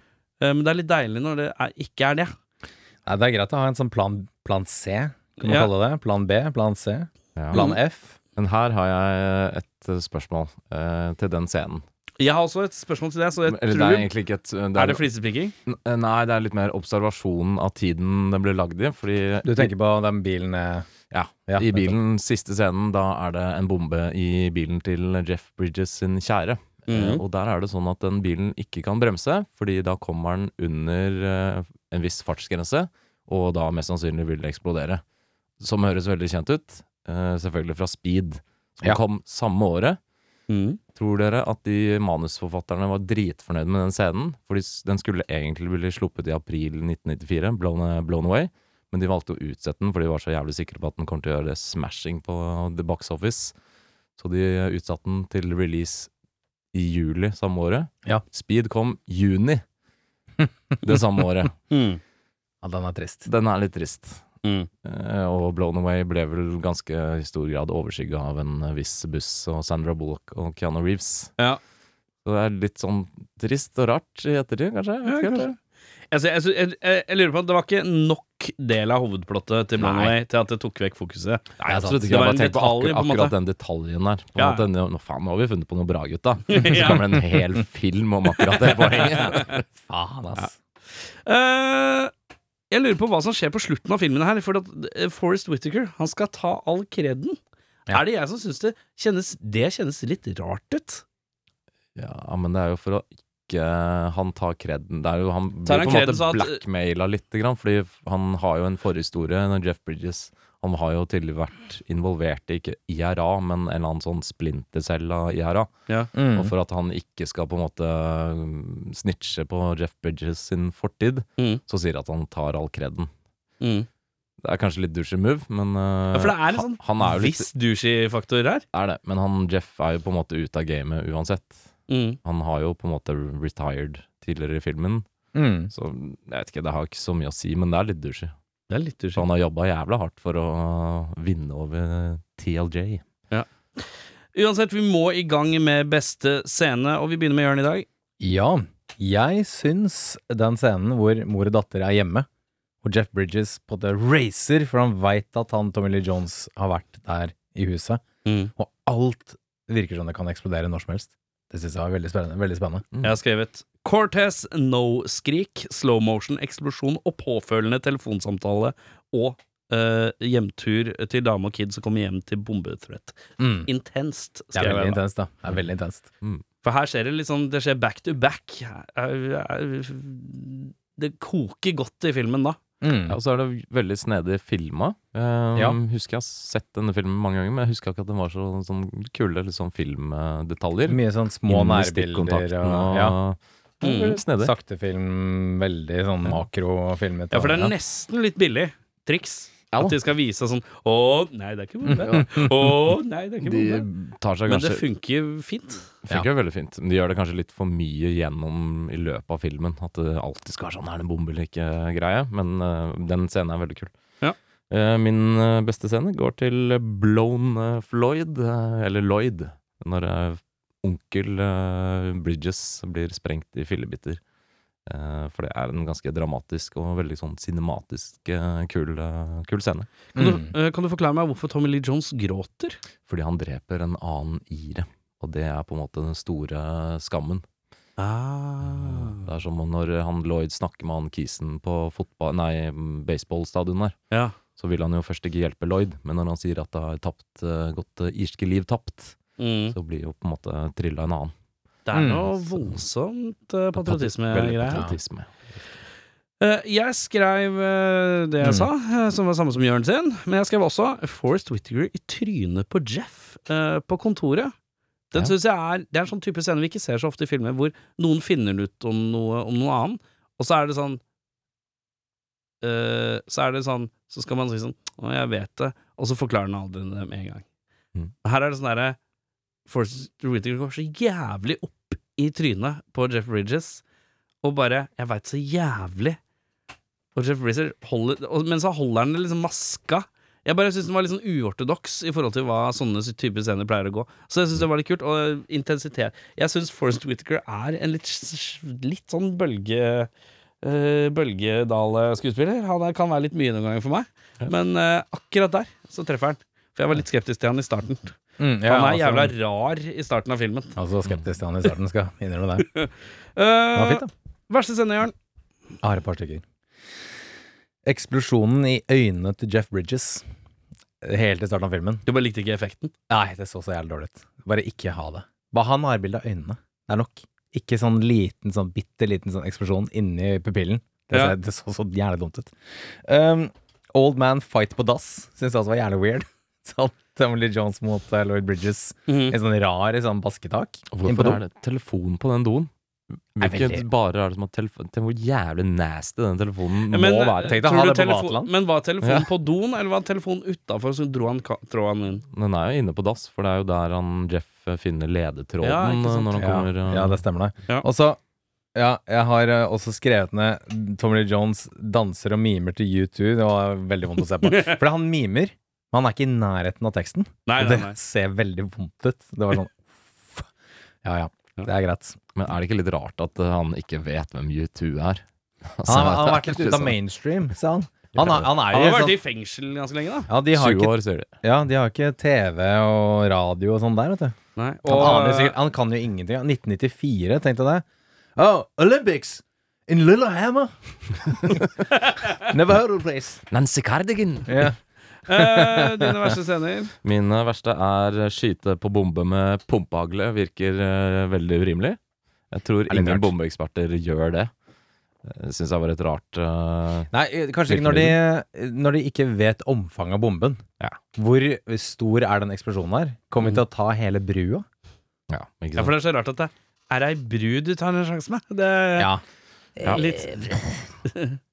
Speaker 5: Eh, men det er litt deilig når det er, ikke er det.
Speaker 2: Nei, det er greit å ha en sånn plan, plan C, kan man
Speaker 5: Ja.
Speaker 2: kalle det. Plan B, plan C,
Speaker 4: Ja.
Speaker 2: plan F.
Speaker 4: Men her har jeg et eh, spørsmål eh, til den scenen.
Speaker 5: Jeg har også et spørsmål til det. Så jeg
Speaker 4: Eller det
Speaker 5: tror,
Speaker 4: er egentlig ikke et eh, det
Speaker 5: er,
Speaker 4: er,
Speaker 5: det flisespikking?
Speaker 4: n- eh, Nei, det er litt mer observasjonen av tiden den ble lagd i. Fordi
Speaker 2: Du tenker på den bilen eh,
Speaker 4: ja,
Speaker 2: Ja,
Speaker 4: i bilen, siste scenen, da er det en bombe i bilen til Jeff Bridges sin kjære. Eh,
Speaker 2: Mhm.
Speaker 4: Og der er det sånn at den bilen ikke kan bremse, fordi da kommer den under eh, en viss fartsgrense, og da mest sannsynlig vil det eksplodere. Som høres veldig kjent ut. eh, Selvfølgelig fra Speed, som
Speaker 2: Ja. Mhm.
Speaker 4: kom samme året. Tror dere at de manusforfatterne var dritfornøyd med den scenen? Fordi s- den skulle egentlig bli sluppet i april 1994, Blown, eh, blown Away. Men de valgte å utsette den, for de var så jævlig sikre på at den kom til å gjøre det smashing på The Box Office. Så de utsatte den til release i juli samme året.
Speaker 2: Ja.
Speaker 4: Speed kom juni det samme året.
Speaker 5: Mm.
Speaker 2: Ja, den er trist.
Speaker 4: Den er litt trist.
Speaker 5: Mm.
Speaker 4: Eh, Og Blown Away ble vel ganske i stor grad overskygga av en viss buss og Sandra Bullock og Keanu Reeves.
Speaker 5: Ja.
Speaker 4: Så det er litt sånn trist og rart i ettertid, kanskje? Jeg vet
Speaker 5: Ja,
Speaker 4: ikke
Speaker 5: kanskje.
Speaker 4: helt.
Speaker 5: Altså, jeg, jeg, jeg, jeg lurer på at det var ikke nok del av hovedplottet til
Speaker 4: Nei.
Speaker 5: Blondway til at det tok vekk fokuset.
Speaker 4: Nei, jeg
Speaker 2: sant.
Speaker 4: trodde
Speaker 5: Det
Speaker 4: ikke jeg
Speaker 5: var
Speaker 4: bare
Speaker 5: en
Speaker 4: tenkte på
Speaker 5: detalj, på
Speaker 4: akkur
Speaker 5: en måte.
Speaker 4: akkurat den detaljen der. På en
Speaker 5: Ja.
Speaker 4: måte, nå, nå faen, nå har vi funnet på noe bra, gutta. Så
Speaker 5: Ja.
Speaker 4: kommer det en hel film om akkurat det poenget.
Speaker 2: Faen, ass.
Speaker 5: Eh, jeg lurer på hva som skjer på slutten av filmen her. For at eh, Forrest Whittaker han skal ta all kreden.
Speaker 2: Ja.
Speaker 5: Er det jeg som syns det kjennes Det kjennes litt rart ut?
Speaker 4: Ja, men det er jo for å ikke eh, Han tar kreden Det er jo Han
Speaker 5: Tar han
Speaker 4: blir på en
Speaker 5: kreden så
Speaker 4: måte
Speaker 5: at-
Speaker 4: blackmaila lite grann, fordi han har jo en forhistorie. når Jeff Bridges Han har jo tidligere vært involvert i ikke IRA, men en eller annen sånn splintercelle av IRA.
Speaker 5: Mhm.
Speaker 2: Mm.
Speaker 4: Og for at han ikke skal på en måte mm, snitche på Jeff Bridges sin fortid,
Speaker 5: Mm.
Speaker 4: så sier han at han tar all kreden.
Speaker 5: Mm.
Speaker 4: Det er kanskje litt douchey move, men eh,
Speaker 5: Ja, for det er en
Speaker 4: han,
Speaker 5: sånn
Speaker 4: han er jo litt,
Speaker 5: Viss douchey-faktor her.
Speaker 4: er det, Men han Jeff er jo på en måte ute av gamet uansett. Han har jo på en måte retired tidligere i filmen,
Speaker 2: Mm.
Speaker 4: så jeg vet ikke, det har ikke så mye å si, men det er litt douchey.
Speaker 5: Det er litt
Speaker 4: For han har jobba jævla hardt for å vinne over TLJ.
Speaker 5: Uansett, vi må i gang med beste scene, og vi begynner med Jørn i dag.
Speaker 2: Ja, jeg syns den scenen hvor mor og datter er hjemme, og Jeff Bridges på det racer, for han veit at han Tommy Lee Jones har vært der i huset,
Speaker 5: Mm.
Speaker 2: og alt virker som det kan eksplodere når som helst. Det syns jeg var veldig spennende. Veldig spennende.
Speaker 5: Jeg har skrevet Cortez, no-skrik, slow motion, eksplosjon og påfølgende telefonsamtale og eh, hjemtur til dame og kid som kommer hjem til bombethreat.
Speaker 2: Mm.
Speaker 5: Intenst,
Speaker 2: Det er
Speaker 5: skrev jeg.
Speaker 2: veldig
Speaker 5: da.
Speaker 2: intenst, da. Det er veldig intenst.
Speaker 5: For her skjer det liksom Det skjer back to back. Er- er- Det koker godt i filmen da.
Speaker 2: Mm.
Speaker 4: Ja, og så er det veldig snedig filma. Um,
Speaker 2: Ja.
Speaker 4: Husker jeg har sett denne filmen mange ganger, men jeg husker ikke at den var så sånn kule eller sånn filmdetaljer.
Speaker 2: Mye sånn små
Speaker 4: Inn i
Speaker 2: nærbilder
Speaker 4: stikkontakten
Speaker 2: og ja,
Speaker 4: Det er veldig Snedig.
Speaker 2: sakte film, veldig sånn makrofilmet.
Speaker 5: Ja, for det
Speaker 2: Ja.
Speaker 5: er nesten litt billig triks.
Speaker 4: Ja da.
Speaker 5: At de skal vise sånn Å, nei, det er ikke bombe. Å, nei, det er ikke
Speaker 4: De
Speaker 5: bombe.
Speaker 4: tar seg
Speaker 5: Men det
Speaker 4: kanskje
Speaker 5: funker fint.
Speaker 4: funker veldig fint. Men de gjør det kanskje litt for mye gjennom i løpet av filmen. At det alltid skal være sånn er det en bombe eller ikke greie. Men eh, den scenen er veldig kul.
Speaker 5: Ja.
Speaker 4: Eh, min eh, beste scene går til Blown eh, Floyd, eh, eller Lloyd, når eh, onkel eh, Bridges blir sprengt i fillebiter. Eh, for det er en ganske dramatisk og veldig sånn cinematisk eh, kul, eh, kul scene.
Speaker 5: Kan
Speaker 2: Mm.
Speaker 5: du, eh, kan du forklare meg hvorfor Tommy Lee Jones gråter?
Speaker 4: Fordi han dreper en annen ire, og det er på en måte den store skammen.
Speaker 5: Ah.
Speaker 4: Det er som når eh, han Lloyd snakker med han Kisen på fotball, nei, baseballstadion der.
Speaker 5: Ja.
Speaker 4: Så vil han jo først ikke hjelpe Lloyd, men når han sier at det har tapt, eh, gått eh, irske liv tapt,
Speaker 5: Mm.
Speaker 4: så blir jo på en måte trilla en annen.
Speaker 5: Det er noe voldsomt eh,
Speaker 4: Veldig
Speaker 5: patriotisme-greier.
Speaker 4: Patriotisme.
Speaker 5: Eh, jeg skrev eh,
Speaker 2: Mm.
Speaker 5: det jeg sa, eh, som var samme som Jørn sin, men jeg skrev også Forest Whittaker i trynet på Jeff eh, på kontoret. Den synes jeg er, Det er en sånn type scene vi ikke ser så ofte i filmer, hvor noen finner ut om noe om noen annen, og så er det sånn eh, Så er det sånn Så skal man si sånn Å, jeg vet det. Og så forklarer den aldri det med en gang.
Speaker 4: Mm.
Speaker 5: Her er det sånn derre Forest Whittaker går så jævlig opp i trynet på Jeff Bridges, og bare Jeg veit så jævlig og Jeff Brizzer holder, og, Men så holder han det liksom maska Jeg bare synes den var litt sånn uortodoks I forhold til hva sånne typer scener pleier å gå Så jeg synes det var litt kult Og eh, intensitet Jeg synes Forrest Whitaker er en litt, litt sånn bølge eh, Bølgedale skuespiller Han er, kan være litt mye noen ganger for meg Men eh, akkurat der så treffer han For jeg var litt skeptisk til han i starten
Speaker 2: Mm,
Speaker 5: Han er
Speaker 2: altså-
Speaker 5: jævla rar i starten av filmen
Speaker 2: Altså skeptisk til han i starten, skal innrømme det. Det var
Speaker 5: uh,
Speaker 2: fint, da.
Speaker 5: Verste scene, Jørn
Speaker 2: Jeg har et par stykker. Eksplosjonen i øynene til Jeff Bridges helt i starten av filmen.
Speaker 5: Du bare likte ikke effekten
Speaker 2: Nei, det så så jævlig dårlig ut. Bare ikke ha det. Bare ha nærbilde av øynene. Det er nok. Ikke sånn liten, sånn bitte liten sånn eksplosjon inni pupillen. Det,
Speaker 5: Ja.
Speaker 2: ser- det så så jævlig dumt ut. Um, Old Man Fight på dass syns jeg også var jævlig weird. Sånn Tommy Lee Jones mot eh, Lloyd Bridges.
Speaker 5: Mhm.
Speaker 2: En sånn rar i sånn basketak. Inn på
Speaker 4: Hvorfor
Speaker 2: do.
Speaker 4: er det telefon på den doen?
Speaker 2: Er
Speaker 4: Hvilket
Speaker 2: veldig-
Speaker 4: bare er det som har telefon Tenk hvor jævlig nasty den telefonen
Speaker 5: Ja, men,
Speaker 4: må være.
Speaker 2: Tenk deg å
Speaker 5: tror
Speaker 2: ha
Speaker 5: du
Speaker 2: det på
Speaker 5: telefon-
Speaker 2: Vaterland.
Speaker 5: Men var telefonen
Speaker 4: Ja.
Speaker 5: på doen, eller var telefonen utafor, så dro han ka- tråden inn?
Speaker 4: Den er jo inne på dass, for det er jo der han Jeff eh, finner ledetråden
Speaker 5: Ja, ikke sant?
Speaker 4: når han kommer.
Speaker 2: ja,
Speaker 4: eh,
Speaker 2: ja, det stemmer det.
Speaker 5: Ja.
Speaker 2: Og så ja, jeg har eh, også skrevet ned Tommy Lee Jones danser og mimer til U2. Det var veldig vondt å se på. For han mimer, men han er ikke i nærheten av teksten.
Speaker 5: Nei,
Speaker 2: og
Speaker 5: nei,
Speaker 2: det
Speaker 5: nei.
Speaker 2: ser veldig vondt ut. Det var sånn Ja ja, det er greit.
Speaker 4: Men er det ikke litt rart at eh, han ikke vet hvem U2 er? Altså,
Speaker 2: Han, han, har vært
Speaker 4: det er
Speaker 2: litt
Speaker 4: ikke
Speaker 2: ute av
Speaker 4: sånn.
Speaker 2: mainstream, sa han. Han, er- han er
Speaker 5: Han
Speaker 2: jo
Speaker 5: har vært
Speaker 2: sånn
Speaker 5: i fengsel ganske lenge, da.
Speaker 2: ja de, har
Speaker 4: 20
Speaker 2: ikke,
Speaker 4: år, sier de.
Speaker 2: ja, de har ikke TV og radio og sånn der, vet du.
Speaker 5: Nei.
Speaker 2: Han, aner
Speaker 5: Og,
Speaker 2: sikkert, han kan jo ingenting. 1994, tenkte jeg det. Oh, Olympics in Lillehammer! Never heard of the place.
Speaker 4: Nancy Cardigan!
Speaker 2: Ja.
Speaker 5: eh, dine verste scener.
Speaker 4: Min eh, verste er eh, skyte på bombe med pumpehagle. Virker eh, veldig urimelig. Jeg tror
Speaker 2: Er litt
Speaker 4: ingen
Speaker 2: rart.
Speaker 4: bombeeksperter gjør det. Det syns jeg var et rart eh,
Speaker 2: Nei, eh, kanskje ikke når de, når de ikke vet omfanget av bomben.
Speaker 4: Ja.
Speaker 2: Hvor stor er den eksplosjonen her? Kommer vi til å ta hele brua?
Speaker 4: Ja,
Speaker 5: Ja,
Speaker 4: ikke
Speaker 5: for
Speaker 4: sant?
Speaker 5: det er så rart at det er ei brud du tar en sjanse med. Det,
Speaker 4: Ja.
Speaker 5: Eh, Litt.
Speaker 2: La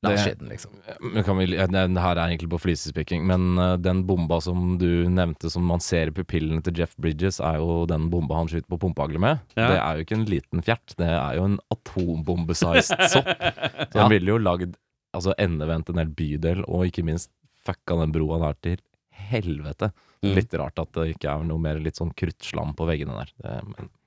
Speaker 4: Det-
Speaker 2: oss skyte den, liksom.
Speaker 4: Men Kan vi, eh, den her er egentlig på flisespikking, men eh, den bomba som du nevnte som man ser i pupillene til Jeff Bridges, er jo den bomba han skyter på pumpehagle med.
Speaker 5: Ja.
Speaker 4: Det er jo ikke en liten fjert, det er jo en atombombesized sopp. Så
Speaker 2: Ja.
Speaker 4: han ville jo lagd altså, endevendt en hel bydel, og ikke minst fucka den broa der til helvete.
Speaker 5: Mm.
Speaker 4: Litt rart at det ikke er noe mer litt sånn kruttslam på veggene der. Det, men.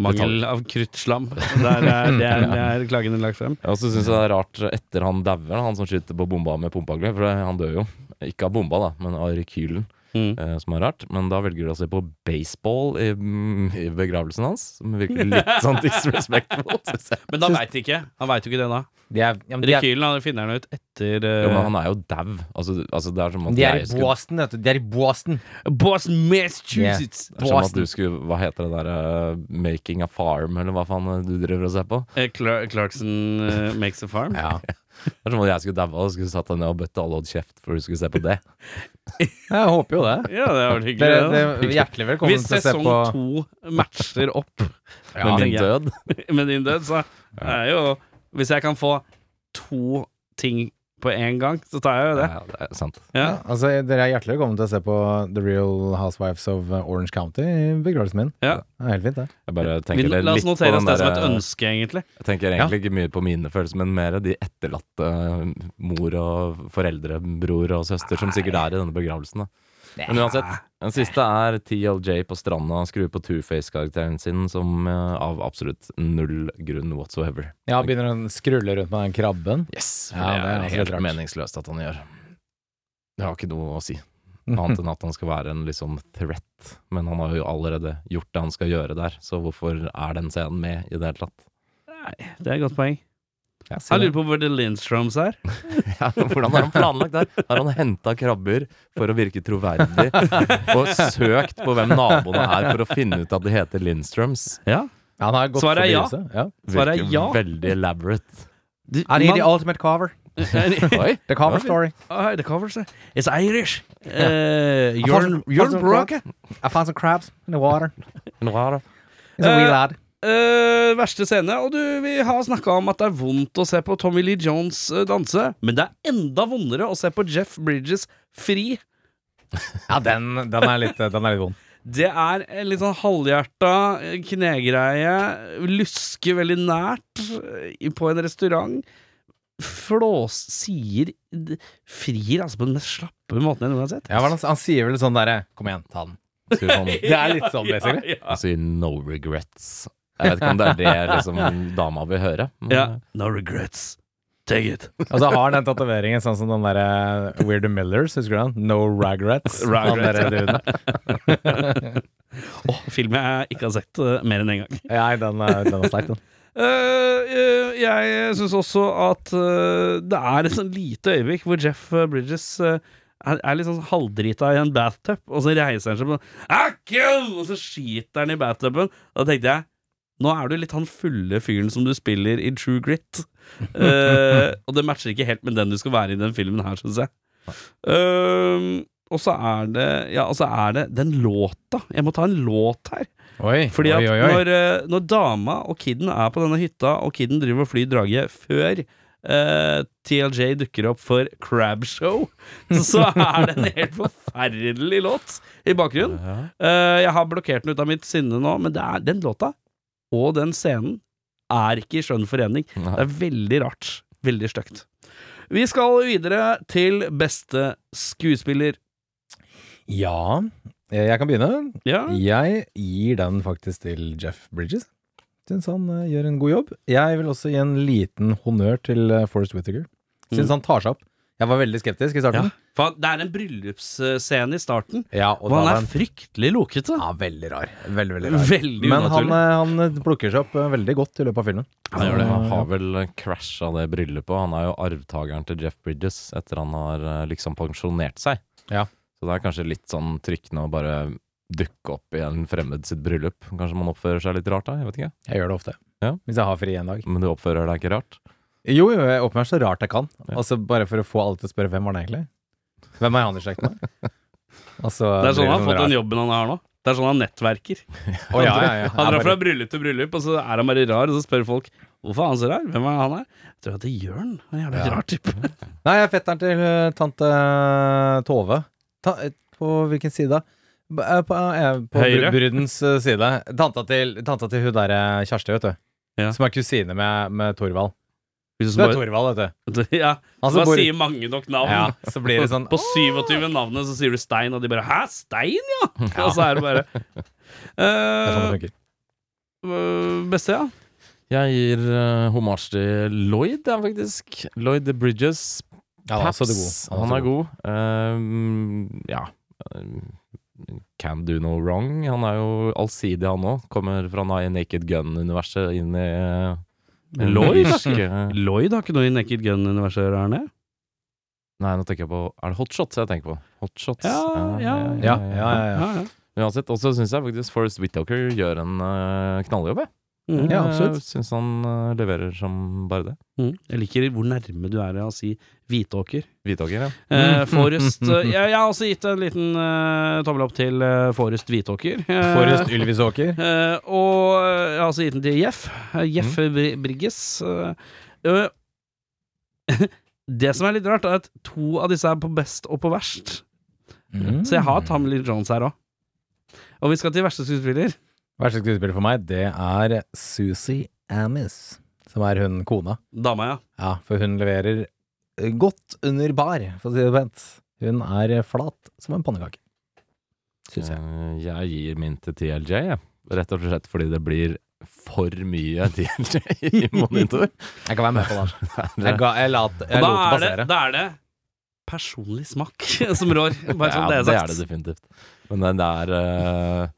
Speaker 5: Mangel av kruttslam. Der er, eh, det er, det er klagene lagt frem.
Speaker 4: Jeg også syns det er rart etter han dauer, han som skyter på bomba med pumpehagle, for han dør jo. Ikke av bomba, da, men av rekylen.
Speaker 5: Mm.
Speaker 4: eh, som er rart. Men da velger de å se på baseball i, mm, i begravelsen hans, som virker litt sånn disrespectful. Synes jeg.
Speaker 5: Men da veit de ikke. Han veit jo ikke det da.
Speaker 2: De er, ja, men de er,
Speaker 5: Rekylen han finner han ut etter eh,
Speaker 4: Jo, men han er jo dau. Altså, altså, det er som at
Speaker 2: de er i
Speaker 4: jeg skulle
Speaker 2: Boston, vet du. De er i Boston.
Speaker 5: Boston, Massachusetts!
Speaker 4: det er som at du skulle, Hva heter det der eh, Making a farm, eller hva faen eh, du driver og ser på?
Speaker 5: Eh, Cla- Clarkson eh, makes a farm.
Speaker 2: Ja.
Speaker 4: Det er som at jeg skulle daua og skulle satt deg ned og bøtt alle odd kjeft for du skulle se på det.
Speaker 2: Jeg håper jo det.
Speaker 5: Ja, det hadde vært hyggelig.
Speaker 2: Dere,
Speaker 5: det, da.
Speaker 2: dere, hjertelig velkommen
Speaker 5: Hvis
Speaker 2: til å se
Speaker 5: sesong
Speaker 2: på
Speaker 5: to matcher opp
Speaker 4: Men min
Speaker 5: tenker jeg.
Speaker 4: død
Speaker 5: med din død, så er jo Hvis jeg kan få to ting på én gang, så tar jeg jo det.
Speaker 4: Ja, det er sant.
Speaker 5: Ja.
Speaker 2: ja, altså, Dere er hjertelig velkommen til å se på The Real Housewives of uh, Orange County i begravelsen min.
Speaker 5: Ja.
Speaker 2: Det er helt fint, det.
Speaker 4: Jeg bare
Speaker 5: Vi,
Speaker 4: tenker det
Speaker 5: la oss
Speaker 4: litt på
Speaker 5: notere
Speaker 4: den
Speaker 5: oss det som
Speaker 4: der- eh,
Speaker 5: et ønske, egentlig.
Speaker 4: Jeg tenker egentlig ikke mye på mine følelser, men mer de etterlatte eh, mor og foreldre, bror og søster, som sikkert er i denne begravelsen. Da. Men uansett, den siste er TLJ på stranda, skrur på Two-Face-karakteren sin, som eh, av absolutt null grunn whatsoever.
Speaker 2: Ja, Begynner å skrulle rundt med den krabben.
Speaker 4: Yes, for
Speaker 2: Ja,
Speaker 4: det
Speaker 2: det er
Speaker 4: er
Speaker 2: absolutt
Speaker 4: helt
Speaker 2: rart.
Speaker 4: meningsløst at han gjør. Det har ikke noe å si. Annet enn at han skal være en liksom threat. Men han har jo allerede gjort det han skal gjøre der, så hvorfor er den scenen med i det hele tatt?
Speaker 5: Det er et godt poeng.
Speaker 4: Ja,
Speaker 5: Jeg lurer på hvor det Lindstroms er.
Speaker 4: Ja, hvordan har han planlagt der? Har han henta krabber for å virke troverdig? Og søkt på hvem naboene er for å finne ut at de heter Lindstrøms?
Speaker 5: Ja.
Speaker 2: Han har gått
Speaker 5: Svaret er ja.
Speaker 2: forbi huset, ja.
Speaker 5: Svaret er
Speaker 4: Virker
Speaker 5: ja.
Speaker 4: Veldig elaborate.
Speaker 5: Du,
Speaker 2: I need the
Speaker 5: man-
Speaker 2: ultimate cover.
Speaker 4: Oi,
Speaker 2: The cover story.
Speaker 5: Ah, the covers eh. It's Irish. Eh,
Speaker 2: fant
Speaker 5: you're
Speaker 2: some-
Speaker 5: you're
Speaker 2: fant some
Speaker 5: broke.
Speaker 2: I found some crabs in the water.
Speaker 4: nå er det-
Speaker 2: It's a wee
Speaker 5: Eh,
Speaker 2: lad.
Speaker 5: Eh, verste scene. Og du, vi har snakka om at det er vondt å se på Tommy Lee Jones eh, danse, men det er enda vondere å se på Jeff Bridges fri.
Speaker 2: Ja, den, den, er litt, den er litt vond.
Speaker 5: Det er en litt sånn halvhjerta eh, knegreie. Luske veldig nært eh, i- på en restaurant. Flås sier d- Frir altså på den mest slappe måten jeg noen gang har sett.
Speaker 2: Ja, hva er det han, han sier vel sånn derre Kom igjen, ta den.
Speaker 4: Sier sånn,
Speaker 2: Det er litt sånn, basically.
Speaker 5: ja.
Speaker 4: Han sier 'no regrets'. Jeg vet ikke om det er det liksom, dama vil høre. Men, eh,
Speaker 5: ja. No regrets. Take it.
Speaker 2: Og så har han den tatoveringen sånn som den derre Weird Millers, husker du den? No ragrets.
Speaker 5: Ragrets.
Speaker 2: Han derre duden.
Speaker 5: Åh, film jeg ikke har sett eh, mer enn én gang.
Speaker 2: Nei, den er, den er sterk, den.
Speaker 5: Eh, eh, jeg syns også at eh, det er et sånn lite øyeblikk hvor Jeff eh, Bridges eh, er, er litt sånn halvdrita i en bathtub, og så reiser han seg på «Ah, kill!» Og så skyter han i bathtubben. Da tenkte jeg nå er du litt han fulle fyren som du spiller i True Grit. Eh, og det matcher ikke helt med den du skal være i den filmen her, syns jeg. Eh, og så er det Ja, og så er det den låta. Jeg må ta en låt her.
Speaker 2: Oi,
Speaker 5: Fordi at
Speaker 2: oi, oi, oi.
Speaker 5: Når, eh, når dama og kiden er på denne hytta, og kiden driver og flyr drage før eh, TLJ dukker opp for Crab Show, så er det en helt forferdelig låt i bakgrunnen.
Speaker 4: Ja.
Speaker 5: Eh, jeg har blokkert den ut av mitt sinne nå, men det er den låta og den scenen er ikke i skjønn forening.
Speaker 4: Nei.
Speaker 5: Det er veldig rart. Veldig stygt. Vi skal videre til beste skuespiller.
Speaker 2: Ja, eh, jeg kan begynne.
Speaker 5: Ja.
Speaker 2: Jeg gir den faktisk til Jeff Bridges. Syns han eh, gjør en god jobb. Jeg vil også gi en liten honnør til eh, Forrest Whittaker. Syns
Speaker 5: Mm.
Speaker 2: han tar seg opp. Jeg var veldig skeptisk i
Speaker 5: ja.
Speaker 2: starten.
Speaker 5: Faen, Det er en bryllupsscene i starten.
Speaker 2: Ja, og
Speaker 5: Og han
Speaker 2: da
Speaker 5: er
Speaker 2: var han
Speaker 5: fryktelig lokete.
Speaker 2: ja, veldig rar. Veldig, veldig rar.
Speaker 5: Veldig
Speaker 2: Men han,
Speaker 5: unaturlig.
Speaker 2: eh, han plukker seg opp eh, veldig godt i løpet av filmen.
Speaker 4: Han gjør det. Han har vel crasha det bryllupet. Han er jo arvtakeren til Jeff Bridges etter han har eh, liksom pensjonert seg.
Speaker 2: Ja.
Speaker 4: Så det er kanskje litt sånn trykkende å bare dukke opp i en fremmed sitt bryllup. Kanskje man oppfører seg litt rart da, jeg vet ikke.
Speaker 2: Jeg gjør det ofte.
Speaker 4: Ja.
Speaker 2: Hvis jeg har fri en dag.
Speaker 4: Men du oppfører deg ikke rart.
Speaker 2: Jo, jo, jeg åpner meg så rart jeg kan. Altså Bare for å få alle til å spørre hvem var han egentlig? Hvem er han i slekt med? Altså,
Speaker 5: Det er sånn han
Speaker 2: blir
Speaker 5: har fått
Speaker 2: rar-
Speaker 5: den jobben han har nå. Det er sånn han nettverker.
Speaker 2: Å, ja, ja, ja.
Speaker 5: Han
Speaker 2: Jeg
Speaker 5: drar fra
Speaker 2: bare-
Speaker 5: bryllup til bryllup, og så er han bare rar, og så spør folk hvorfor er han så rar. Hvem er han her? Jeg tror at det er Jørn. Han er en jævlig
Speaker 2: Ja.
Speaker 5: rar type.
Speaker 2: Nei, jeg er fetteren til eh, tante eh, Tove. Ta, eh, på hvilken side? da? B- eh, På, eh, på
Speaker 5: Høyre.
Speaker 2: br- brudens eh, side. Tanta til, tanta til hun derre Kjersti, vet du.
Speaker 5: Ja.
Speaker 2: Som er kusine med, med Torvald.
Speaker 5: Hvis
Speaker 2: Det
Speaker 5: du
Speaker 2: er
Speaker 5: bare,
Speaker 2: Torvald, vet du.
Speaker 5: ja, så
Speaker 2: Han som
Speaker 5: bare
Speaker 2: bor-
Speaker 5: sier mange nok navn.
Speaker 2: Ja, så blir det sånn
Speaker 5: På 27 navnet så sier du Stein, og de bare 'hæ, Stein, ja?' Og så er det bare
Speaker 2: Det er sånn det
Speaker 5: Eh,
Speaker 2: funker.
Speaker 5: øh, Beste, ja.
Speaker 4: Jeg gir uh, hommage til Lloyd, ja, faktisk. Lloyd the Bridges.
Speaker 2: Ja, han er også god.
Speaker 4: Han, er god. Ehm, ja. Ehm, Can do no wrong. Han er jo allsidig, han òg. Kommer fra Na- Naked Gun-universet inn i eh,
Speaker 2: Mm.
Speaker 4: en
Speaker 5: Lloyd?
Speaker 4: irsk, eh,
Speaker 5: Lloyd har ikke noe i Naked Gun-universet å gjøre, er han det?
Speaker 4: Nei, nå tenker jeg på Er det hotshots jeg tenker på? Hotshots.
Speaker 5: Ja, ja,
Speaker 2: Ja, ja, ja, ja.
Speaker 5: Ja, ja.
Speaker 4: Men Uansett, og så syns jeg faktisk Forrest Whittaker gjør en eh, knalljobb, jeg.
Speaker 5: Mm.
Speaker 2: Ja, absolutt.
Speaker 4: Jeg Syns han eh, leverer som bare det.
Speaker 5: Mm. Jeg liker hvor nærme du er av å si Hvitåker.
Speaker 4: Whittaker, ja.
Speaker 2: Mm.
Speaker 5: Eh, Forrest eh, jeg, jeg har også gitt en liten eh, tommel opp til eh, Forrest Hvitåker. Eh,
Speaker 2: Forrest Ylvisåker.
Speaker 5: eh, og eh, jeg har også gitt den til Jeff. Eh, Jeff
Speaker 2: Mm.
Speaker 5: Bri- Brigges. Eh, eh, det som er litt rart, er at to av disse er på best og på verst.
Speaker 2: Mm.
Speaker 5: Så jeg har Tom Lee Jones her òg. Og vi skal til verste skuespiller.
Speaker 2: Verste skuespiller for meg, det er Susie Amis. Som er hun kona.
Speaker 5: Dama, ja.
Speaker 2: Ja, for hun leverer eh, godt under bar, for å si det pent. Hun er eh, flat som en pannekake. Syns jeg.
Speaker 4: Eh, Jeg gir min til TLJ, jeg. Rett og slett fordi det blir for mye TLJ i monitor.
Speaker 2: Jeg kan være med på den.
Speaker 4: Det er-
Speaker 2: Jeg, ga, jeg, la, jeg
Speaker 5: Og da
Speaker 2: lot det
Speaker 5: er det,
Speaker 2: passere.
Speaker 5: da er det personlig smak som rår. Bare sånn
Speaker 4: ja,
Speaker 5: det er
Speaker 4: det
Speaker 5: sagt.
Speaker 4: er det definitivt. Men det, det er eh,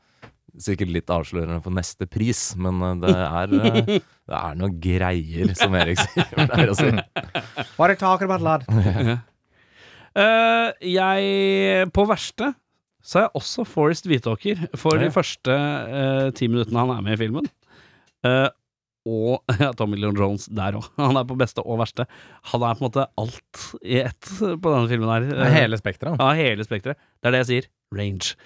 Speaker 4: sikkert litt avslørende for neste pris, men eh, det er, eh, det er noen greier, som Erik sier. altså, pleier å si.
Speaker 2: Bare talk about lad.
Speaker 5: Eh, jeg På verste så er jeg også Forrest Hvitåker for
Speaker 4: Ja.
Speaker 5: de første eh, ti minuttene han er med i filmen. Eh, og ja, Tommy Leon Jones der òg. Han er på beste og verste. Han er på en måte alt i ett på denne filmen her.
Speaker 2: Det er hele spekteret.
Speaker 5: Ja, hele spekteret. Det er det jeg sier. Range.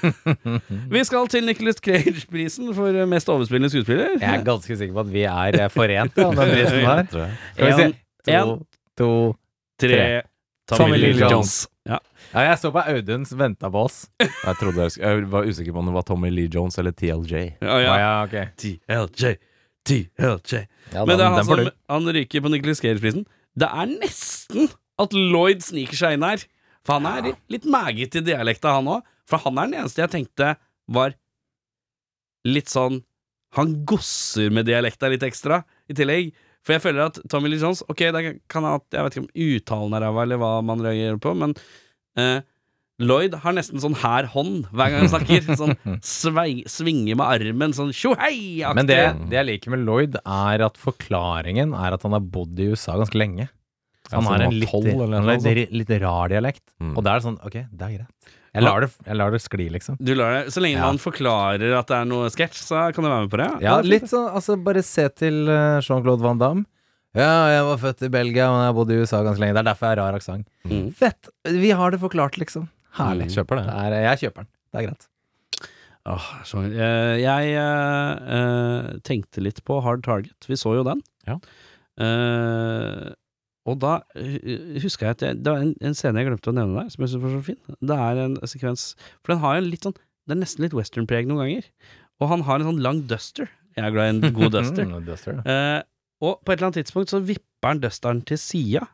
Speaker 5: Vi skal til Nicholas Cage-prisen for mest overspillende skuespiller.
Speaker 2: Jeg er ganske sikker på at vi er eh, forent, ja, den prisen her.
Speaker 4: Tror jeg.
Speaker 2: Skal vi
Speaker 5: En,
Speaker 2: se. To,
Speaker 5: en,
Speaker 2: to
Speaker 5: tre
Speaker 2: Tommy Lee Jones.
Speaker 5: Ja.
Speaker 2: Ja, jeg så på Audun som venta på oss.
Speaker 4: Jeg, trodde jeg, sk- jeg var usikker på om det var Tommy Lee Jones eller TLJ.
Speaker 5: Ja, ja.
Speaker 2: Å, ja, ok.
Speaker 5: TLJ, TLJ.
Speaker 2: Ja,
Speaker 5: Men
Speaker 2: den-
Speaker 5: det er han
Speaker 2: den får
Speaker 5: som
Speaker 2: du.
Speaker 5: han ryker på Nicolas Cage-prisen. Det er nesten at Lloyd sniker seg inn her. For han er litt meget i dialekta, han òg. For han er den eneste jeg tenkte var litt sånn Han gosser med dialekta litt ekstra, i tillegg. For jeg føler at Tommy Lee Jones Ok, det kan jeg, jeg vet ikke om uttalen er ræva, eller hva man reagerer på, men eh, Lloyd har nesten sånn her hånd hver gang han snakker. Sånn svei, svinger med armen, sånn tjo hei-aktig.
Speaker 2: Men det, det jeg liker med Lloyd, er at forklaringen er at han har bodd i USA ganske lenge. Så han
Speaker 4: Ja, så
Speaker 2: har
Speaker 4: han
Speaker 2: en
Speaker 4: var
Speaker 2: litt,
Speaker 4: 12 eller
Speaker 2: han
Speaker 4: noe
Speaker 2: har litt, litt rar dialekt.
Speaker 4: Mm.
Speaker 2: Og da er det sånn Ok, det er greit. Jeg lar det, jeg lar det skli, liksom.
Speaker 5: Du lar det, Så lenge
Speaker 2: Ja.
Speaker 5: man forklarer at det er noe sketsj, så kan du være med på det.
Speaker 2: Ja, litt sånn, altså Bare se til eh, Jean-Claude Van Damme. Ja, jeg var født i Belgia, men jeg har bodd i USA ganske lenge. Det er derfor jeg har rar aksent.
Speaker 5: Mm.
Speaker 2: Fett! Vi har det forklart, liksom. Herlig.
Speaker 4: Kjøper
Speaker 2: Det
Speaker 4: det.
Speaker 2: er, jeg kjøper den. Det er greit.
Speaker 5: Åh, så, eh, jeg eh, eh, tenkte litt på Hard Target. Vi så jo den.
Speaker 4: Ja.
Speaker 5: Eh, og da huska jeg at jeg, det var en, en scene jeg glemte å nevne der, som jeg synes var så fin. Det er en sekvens For den har jo en litt sånn Det er nesten litt western-preg noen ganger. Og han har en sånn lang duster. Jeg er glad i en god duster.
Speaker 2: Mm, duster, ja.
Speaker 5: Eh, og på et eller annet tidspunkt så vipper han dusteren til sida.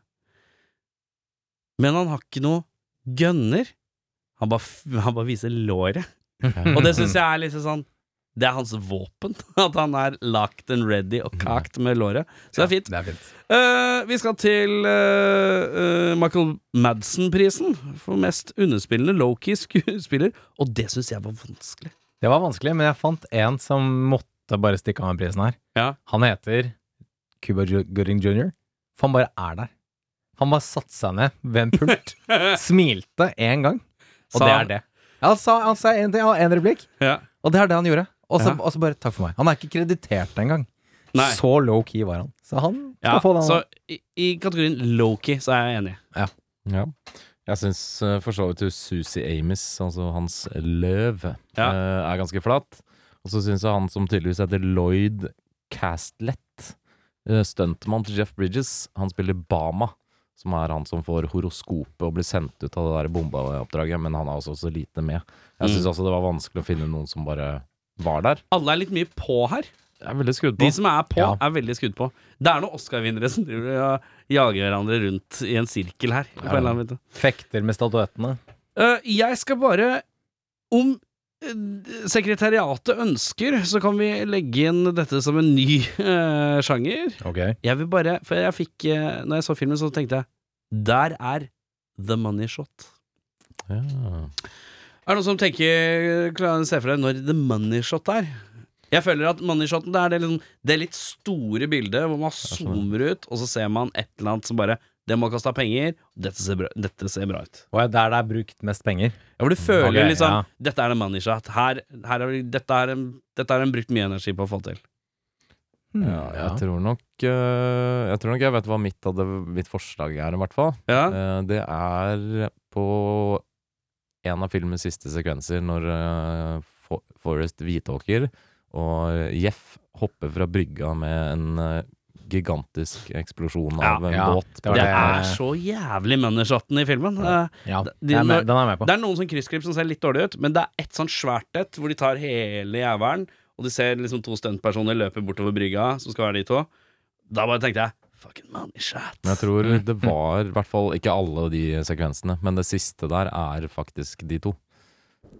Speaker 5: Men han har ikke noe gønner. Han bare, f- han bare viser låret. Og det syns jeg er liksom sånn Det er hans våpen. At han er locked and ready
Speaker 2: Mm.
Speaker 5: og kakt med låret. Så det er fint.
Speaker 2: Det er fint.
Speaker 5: Eh, vi skal til eh, eh, Michael Madsen-prisen for mest underspillende lowkey skuespiller. Og det syns jeg var vanskelig.
Speaker 2: Det var vanskelig, men jeg fant en som måtte bare stikke av med prisen her.
Speaker 5: Ja.
Speaker 2: Han heter Cuba Ju- Gooding Jr. For han bare er der. Han bare satte seg ned ved en pult, smilte én gang, og
Speaker 5: Sa
Speaker 2: det
Speaker 5: han-
Speaker 2: er det. Ja, han sa, han sa en, ting, ja, en replikk,
Speaker 5: Ja.
Speaker 2: og det er det han gjorde. Og så
Speaker 5: Ja.
Speaker 2: og så bare takk for meg. Han er ikke kreditert engang.
Speaker 5: Nei.
Speaker 2: Så low key var han. Så han skal
Speaker 5: Ja,
Speaker 2: få den.
Speaker 5: så i, i kategorien lowkey så er jeg enig.
Speaker 4: Ja. Jeg syns eh, for så vidt jo Susi Amis, altså hans løv,
Speaker 5: Ja.
Speaker 4: eh, er ganske flat. Og så syns jeg han som tydeligvis heter Lloyd Castlett, uh, stuntmann til Jeff Bridges, han spiller Bama. Som er han som får horoskopet og blir sendt ut av det der bombeoppdraget. Men han er også så lite med. Jeg syns også det var vanskelig å finne noen som bare var der.
Speaker 5: Alle er litt mye på her.
Speaker 4: Jeg er veldig skrudd
Speaker 5: De
Speaker 4: på.
Speaker 5: som er på,
Speaker 2: Ja.
Speaker 5: er veldig skudd på. Det er noen Oscar-vinnere som driver og jager hverandre rundt i en sirkel her. På en eller annen måte.
Speaker 2: Fekter med statuettene.
Speaker 5: Eh, jeg skal bare Om eh, sekretariatet ønsker, så kan vi legge inn dette som en ny eh, sjanger. Jeg vil bare For jeg fikk eh, Når jeg så filmen, så tenkte jeg Der er the money shot.
Speaker 4: Ja.
Speaker 5: Er det noen som tenker Klarer å se for deg når the money shot er? Jeg føler at money shoten det er det, liksom, det litt store bildet hvor man zoomer ut, og så ser man et eller annet som bare Det må koste penger. Dette ser bra, dette ser bra ut.
Speaker 2: Og der det er brukt mest penger.
Speaker 5: Ja, hvor du føler
Speaker 2: Ok,
Speaker 5: liksom
Speaker 2: ja.
Speaker 5: Dette er the money shot. Her, her er, dette har en brukt mye energi på å få til.
Speaker 2: Hmm,
Speaker 4: Ja, jeg tror nok eh, Jeg tror nok jeg vet hva mitt, hadde, mitt forslag er, i hvert fall.
Speaker 5: Ja,
Speaker 4: Eh, Det er på en av filmens siste sekvenser, når eh, Fo- Forrest Hvitåker og Jeff hopper fra brygga med en eh, gigantisk eksplosjon
Speaker 5: Ja,
Speaker 4: av en
Speaker 2: ja.
Speaker 4: båt.
Speaker 2: var
Speaker 5: det
Speaker 2: det-
Speaker 5: er så jævlig money shoten i filmen. Eh,
Speaker 2: Ja,
Speaker 5: De-
Speaker 2: jeg er med, den er jeg med på.
Speaker 5: Det er noen sånn kryssklipp som ser litt dårlig ut, men det er ett sånn svært et hvor de tar hele jævelen, og du ser liksom to stuntpersoner løpe bortover brygga, som skal være de to. Da bare tenkte jeg Fucking money shot.
Speaker 4: Men jeg tror
Speaker 2: Mm.
Speaker 4: det var, i hvert fall ikke alle de sekvensene, men det siste der er faktisk de to.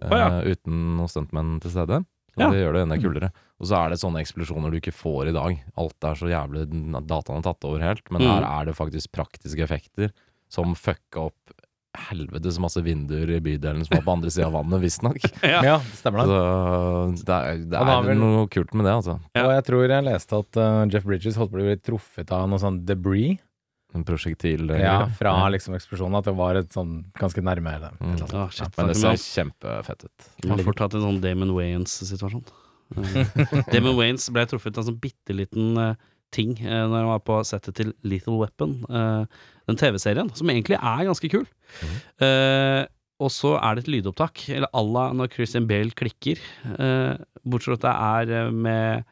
Speaker 4: Eh,
Speaker 5: ja.
Speaker 4: Uten noen stuntmenn til stede. Så
Speaker 5: Ja.
Speaker 4: det gjør det enda kulere. Og så er det sånne eksplosjoner du ikke får i dag. Alt er så jævlig Dataen er tatt over helt, men
Speaker 5: Mm.
Speaker 4: her er det faktisk praktiske effekter som fucka opp helvetes masse vinduer i bydelen som var på andre sida av vannet, visstnok.
Speaker 5: Ja.
Speaker 2: Ja, det stemmer det.
Speaker 4: Så det er, det
Speaker 2: Han har
Speaker 4: er
Speaker 2: vel-
Speaker 4: noe kult med det, altså.
Speaker 5: Ja.
Speaker 2: Og jeg tror jeg leste at eh, Jeff Bridges holdt på å bli truffet av noe sånn debris
Speaker 4: En prosjektil.
Speaker 2: ja, fra liksom eksplosjonen. At det var et sånn ganske nærme eller et eller annet.
Speaker 5: Ah, shit,
Speaker 4: Men det
Speaker 5: snakker
Speaker 4: ser
Speaker 5: vi
Speaker 4: kjempefett ut.
Speaker 5: om- Man får tatt en sånn Damon Wayans-situasjon. Eh, Damon Wayans ble truffet av en sånn bitte liten ting eh, når han var på settet til Lethal Weapon. eh, den TV-serien, som egentlig er ganske kul. Eh, og så er det et lydopptak, eller à la når Christian Bale klikker. eh, bortsett fra at det er eh, med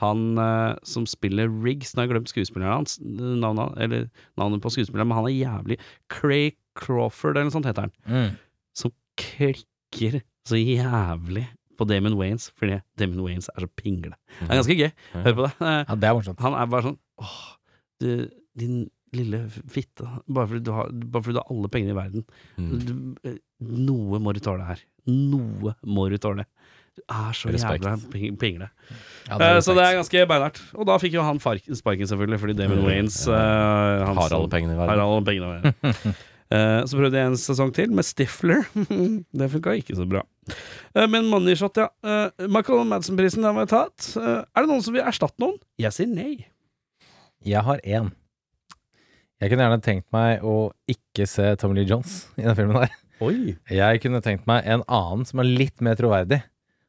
Speaker 5: han eh, som spiller Riggs. Nå har jeg glemt skuespilleren hans, navnet, han- eller navnet på skuespilleren, men han er jævlig Cray Crawford, eller noe sånt heter han
Speaker 2: Mm.
Speaker 5: som klikker så jævlig på Damon Waynes, fordi Damon Waynes er så pingle. Det er ganske gøy. Hør på det. Eh,
Speaker 2: Ja, det er morsomt.
Speaker 5: Han er bare sånn Åh, du, din lille fitte. Bare fordi du har, bare fordi du har alle pengene i verden.
Speaker 4: Mm.
Speaker 5: Du, eh, noe må du tåle her. Noe må du tåle. Du er så
Speaker 4: Respekt.
Speaker 5: jævla ping- pingle.
Speaker 2: Ja,
Speaker 5: Eh, så det
Speaker 2: respekt.
Speaker 5: er ganske beinhardt. Og da fikk jo han fark- sparken, selvfølgelig, fordi Damon Waynes eh, han
Speaker 4: Har
Speaker 5: som-
Speaker 4: alle pengene i
Speaker 5: har
Speaker 4: verden.
Speaker 5: alle pengene å gjøre. Eh, Så prøvde jeg en sesong til med Stifler. det funka ikke så bra. Eh, Men Moneyshot, ja. Eh, Michael Madsen-prisen den var tatt. Eh, Er det noen som vil erstatte noen? Jeg sier nei.
Speaker 2: Jeg har én. Jeg kunne gjerne tenkt meg å ikke se Tommy Lee Jones i den filmen der.
Speaker 5: Oi.
Speaker 2: Jeg kunne tenkt meg en annen som er litt mer troverdig.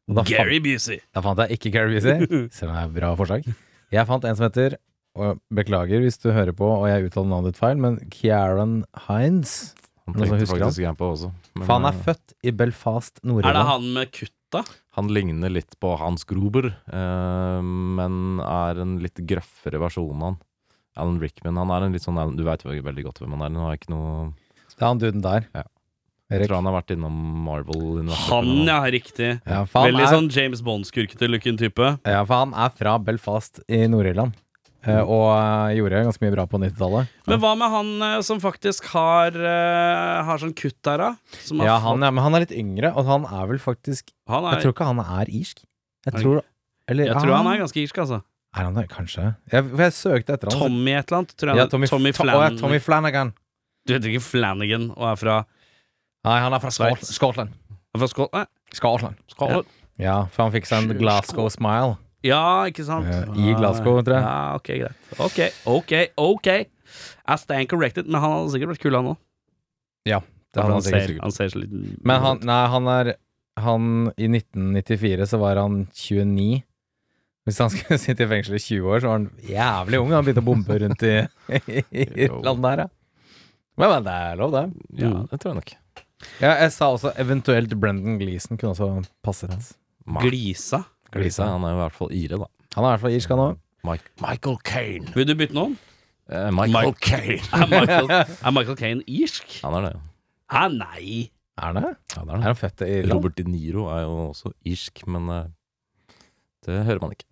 Speaker 2: Og da,
Speaker 5: Gary Busey.
Speaker 2: Fant, da fant jeg ikke Gary Busey, selv om det er et bra forslag. Jeg fant en som heter, og beklager hvis du hører på og jeg uttaler navnet ditt feil, men Kieran Hines.
Speaker 4: Han
Speaker 2: Men så
Speaker 4: tenkte
Speaker 2: husker han.
Speaker 4: faktisk jeg på også. Men,
Speaker 2: For han er
Speaker 4: eh,
Speaker 2: født i Belfast,
Speaker 5: Er det
Speaker 2: Nord-Irland.
Speaker 5: han med kutta?
Speaker 4: Han ligner litt på Hans Gruber, eh, men er en litt grøffere versjon av han. Alan Rickman. Han er en litt sånn Alan, Du veit veldig godt hvem han er. Han har ikke noe
Speaker 2: Det er han duden der.
Speaker 4: Ja. Jeg
Speaker 2: Erik.
Speaker 4: tror han har vært innom Marvel-universet.
Speaker 5: Han, ja, riktig.
Speaker 2: Ja, for han
Speaker 5: Veldig
Speaker 2: er,
Speaker 5: sånn James Bond-skurkete looken type.
Speaker 2: ja, for han er fra Belfast i Nord-Irland. eh,
Speaker 4: Mm.
Speaker 2: Og eh, gjorde ganske mye bra på 90-tallet.
Speaker 5: Men hva med han eh, som faktisk har, eh, har sånn kutt der, da? Som har
Speaker 2: Ja,
Speaker 5: fått-
Speaker 2: han, ja, men han er litt yngre, og han er vel faktisk
Speaker 5: han er,
Speaker 2: Jeg tror ikke han er irsk. Jeg
Speaker 5: Er
Speaker 2: tror Eller ah,
Speaker 5: jeg tror han er ganske irsk, altså.
Speaker 2: Er han det? Kanskje. Jeg, for jeg søkte etter han.
Speaker 5: Tommy et eller annet. Tror jeg
Speaker 2: ja,
Speaker 5: han-
Speaker 2: Tommy,
Speaker 5: Tommy
Speaker 2: To- Å, ja,
Speaker 5: Flan-
Speaker 2: Tommy Flanagan.
Speaker 5: Du heter ikke Flanagan og er fra
Speaker 2: Nei, han er fra
Speaker 5: Sveits.
Speaker 2: Skot- Skottland.
Speaker 5: Er fra Skål... Nei.
Speaker 2: Skottland.
Speaker 5: Skål.
Speaker 2: Ja, for han fikk seg en
Speaker 5: Sju-
Speaker 2: Glasgow smile.
Speaker 5: Ja, ikke sant?
Speaker 2: Eh, i Glasgow, tror jeg.
Speaker 5: Ja, ok, greit. Ok, ok, ok. I stand corrected, men han hadde sikkert vært kul, han òg.
Speaker 2: Det hadde han
Speaker 5: Han,
Speaker 2: sikkert
Speaker 5: ser-
Speaker 2: sikkert.
Speaker 5: han ser så liten
Speaker 2: Men han, nei, han er Han I 1994 så var han 29. Hvis han skulle sitte i fengsel i 20 år, så var han jævlig ung. Han begynte å bombe rundt i, i landet her, ja. Men, men det er lov, det.
Speaker 4: Ja, det tror jeg nok.
Speaker 2: Ja, jeg sa også eventuelt Brendan Gleeson kunne også passet.
Speaker 5: glisa.
Speaker 4: Glisa. Han er jo i hvert fall ire, da.
Speaker 2: Han er i hvert fall irsk, han òg.
Speaker 4: Mike, Michael Kane.
Speaker 5: Vil du bytte noen?
Speaker 4: Eh, Michael
Speaker 5: Mike-
Speaker 4: Kane.
Speaker 5: Er Michael, er Michael Kane irsk?
Speaker 4: Han er det.
Speaker 5: Hæ, nei.
Speaker 2: Er han det?
Speaker 4: Ja, det er
Speaker 2: Er
Speaker 4: det.
Speaker 2: han født i Irland?
Speaker 4: Robert De Niro er jo også irsk, men eh, det hører man ikke.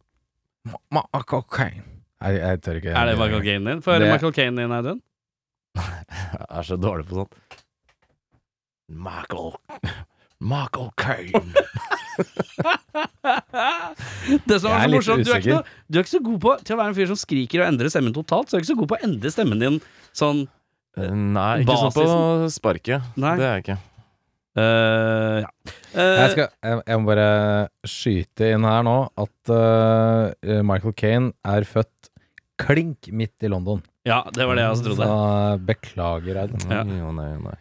Speaker 2: Ma- ma- kokain. Jeg, jeg tør ikke.
Speaker 5: Er det Michael Kane din? Få høre
Speaker 2: Det-
Speaker 5: Michael Kane din, Audun.
Speaker 4: Jeg er så dårlig på sånt. Michael Michael Kane.
Speaker 5: Det som er
Speaker 2: Jeg er
Speaker 5: så
Speaker 2: litt
Speaker 5: morsomt, du er, ikke,
Speaker 2: usikker.
Speaker 5: noe- du er ikke så god på til å være en fyr som skriker og endrer stemmen totalt. Så du er ikke så god på å endre stemmen din sånn
Speaker 4: Nei, ikke sånn på sparket.
Speaker 5: Nei.
Speaker 4: Det er jeg ikke.
Speaker 5: øh, ja.
Speaker 2: Jeg,
Speaker 5: Øh,
Speaker 2: skal, jeg, jeg må bare skyte inn her nå at eh, Michael Kane er født klink midt i London.
Speaker 5: ja, det var det jeg også trodde.
Speaker 2: Så eh, beklager, Audun.
Speaker 5: Ja.
Speaker 4: Nei, jo, nei, nei.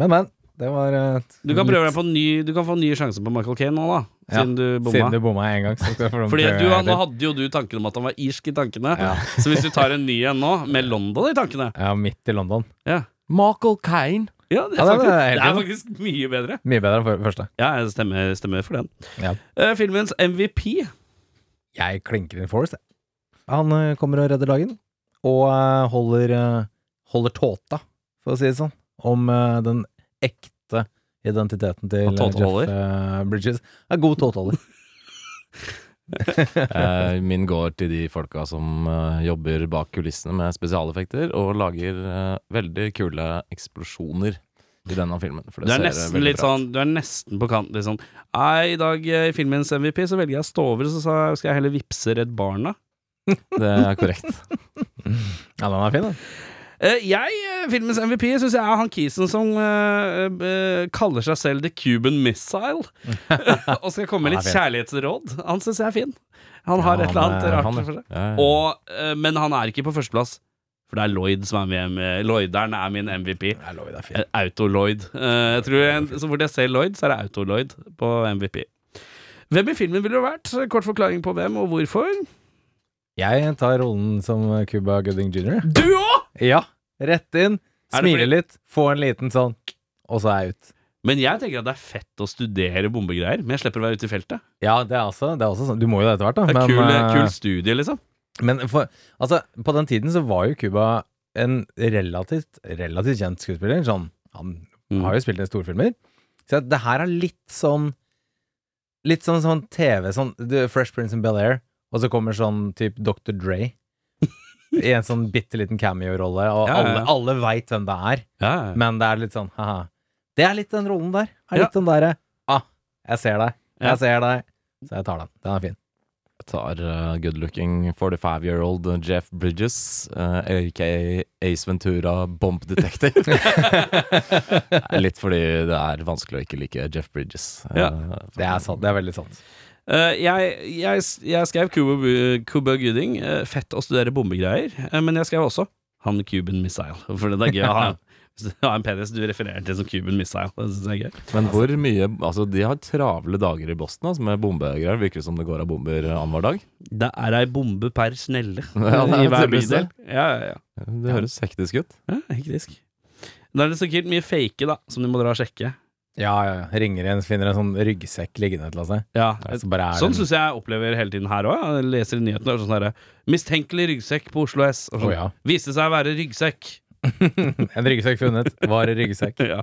Speaker 2: Men, men. Det var eh,
Speaker 5: Du kan prøve deg på en ny Du kan få en ny sjanse på Michael Kane nå, da.
Speaker 2: Ja,
Speaker 5: Siden du bomma.
Speaker 2: Siden du bomma én gang, så skal jeg få lov til
Speaker 5: Fordi
Speaker 2: å
Speaker 5: du,
Speaker 2: prøve en
Speaker 5: Nå
Speaker 2: gang til.
Speaker 5: hadde jo du tanken om at han var irsk i tankene.
Speaker 2: Ja.
Speaker 5: Så hvis du tar en ny en nå, med London i tankene
Speaker 2: Ja, midt i London.
Speaker 5: Ja,
Speaker 4: Michael Kane.
Speaker 5: ja det,
Speaker 2: Ja,
Speaker 5: er
Speaker 2: det er
Speaker 5: faktisk,
Speaker 2: helt
Speaker 5: det er
Speaker 2: enig.
Speaker 5: faktisk mye bedre.
Speaker 2: Mye bedre enn for- første.
Speaker 5: Ja, jeg stemmer, stemmer for den.
Speaker 2: Ja.
Speaker 5: Eh, filmens MVP.
Speaker 2: Jeg klinker inn Forrest. jeg. Han eh, kommer og redder dagen, og eh, holder, eh, holder tåta, for å si det sånn, om eh, den ekte identiteten til
Speaker 4: Han
Speaker 2: eh,
Speaker 4: tåteholder?
Speaker 2: Jeff eh, Bridges. Er god tåteholder.
Speaker 4: Eh, min går til de folka som eh, jobber bak kulissene med spesialeffekter og lager eh, veldig kule eksplosjoner i denne filmen. For
Speaker 5: Du
Speaker 4: det
Speaker 5: er
Speaker 4: ser
Speaker 5: nesten
Speaker 4: veldig
Speaker 5: litt
Speaker 4: bra ut.
Speaker 5: sånn Du er nesten på kanten. Litt sånn Nei, i dag eh, i filmens MVP så velger jeg å stå over, så sa- skal jeg heller vippse Redd Barna.
Speaker 4: Det er korrekt.
Speaker 2: Ja, den er fin, den.
Speaker 5: Eh, jeg, eh, Filmens MVP syns jeg er han kisen som eh, eh, kaller seg selv The Cuban Missile. og skal komme med litt kjærlighetsråd. Han syns jeg er fin. Han har
Speaker 2: Ja,
Speaker 5: et eller annet
Speaker 2: han er-
Speaker 5: rart for seg.
Speaker 4: Ja, ja.
Speaker 5: Og, eh, men han er ikke på førsteplass, for det er Lloyd som er med. med Lloyderen er min MVP.
Speaker 2: Jeg lover deg,
Speaker 5: Eh, Autolloyd. Eh, jeg tror jeg, så Hvor jeg ser Lloyd, så er det Autolloyd på MVP. Hvem i filmen ville du vært? Kort forklaring på hvem og hvorfor.
Speaker 2: Jeg tar rollen som Cuba Gooding jr.
Speaker 5: Du òg!
Speaker 2: Ja, rett inn,
Speaker 5: Er det
Speaker 2: smile
Speaker 5: fordi-
Speaker 2: litt, få en liten sånn, og så er jeg ut.
Speaker 5: Men jeg tenker at det er fett å studere bombegreier, men jeg slipper å være ute i feltet.
Speaker 2: Ja, det er også, det er også sånn. Du må jo det etter hvert, da.
Speaker 5: Det er
Speaker 2: men,
Speaker 5: kul,
Speaker 2: eh,
Speaker 5: kul studie, liksom.
Speaker 2: Men for, altså, på den tiden så var jo Cuba en relativt, relativt kjent skuespiller. Sånn, han
Speaker 5: Mm.
Speaker 2: har jo spilt i storfilmer. Så det her er litt sånn Litt sånn, sånn TV, sånn The Fresh Prince in Bel-Air, og så kommer sånn type Dr. Dre. I en sånn bitte liten cameo-rolle, og
Speaker 5: Ja, ja,
Speaker 2: alle,
Speaker 5: ja.
Speaker 2: alle veit hvem det er.
Speaker 5: Ja,
Speaker 2: Men det er litt sånn haha. Det er litt den rollen der. Er
Speaker 5: Ja.
Speaker 2: litt den derre ah, jeg ser deg,
Speaker 5: Ja.
Speaker 2: jeg ser deg. Så jeg tar den. Den er fin.
Speaker 4: Jeg tar eh, good looking 45 year old Jeff Bridges, uh, aka Ace Ventura Bomb Detector. Nei, Litt fordi det er vanskelig å ikke like Jeff Bridges. Eh,
Speaker 5: Ja.
Speaker 2: Det er sant. Det er veldig sant.
Speaker 5: Eh, jeg, jeg, jeg skrev Cuba, Cuba Gooding. eh, fett å studere bombegreier. eh, men jeg skrev også han Cuban Missile. For det er gøy å ha hvis du har en penis du refererer til som Cuban Missile. Det synes jeg er gøy.
Speaker 4: Men hvor mye Altså, de har travle dager i Boston altså, med bombegreier. Virker det som det går av bomber annenhver dag.
Speaker 5: Det er ei bombe per snelle
Speaker 4: Ja, det er
Speaker 5: i hver
Speaker 4: tydeligvis
Speaker 5: bydel. Ja, ja, ja.
Speaker 4: Det høres hektisk ut.
Speaker 5: ja hektisk. Da er det sikkert mye fake, da, som de må dra og sjekke.
Speaker 2: Ja, ja. ja. Ringer igjen, finner en sånn ryggsekk liggende et eller annet sted.
Speaker 5: Ja,
Speaker 2: Så bare er
Speaker 5: Sånn
Speaker 2: det en-
Speaker 5: syns jeg jeg opplever hele tiden her òg. Jeg leser i nyhetene og er sånn herre Mistenkelig ryggsekk på Oslo S. Og sånn,
Speaker 2: Å, ja.
Speaker 5: Viste seg å være ryggsekk.
Speaker 2: En ryggsekk funnet. Var i ryggsekk.
Speaker 5: Ja.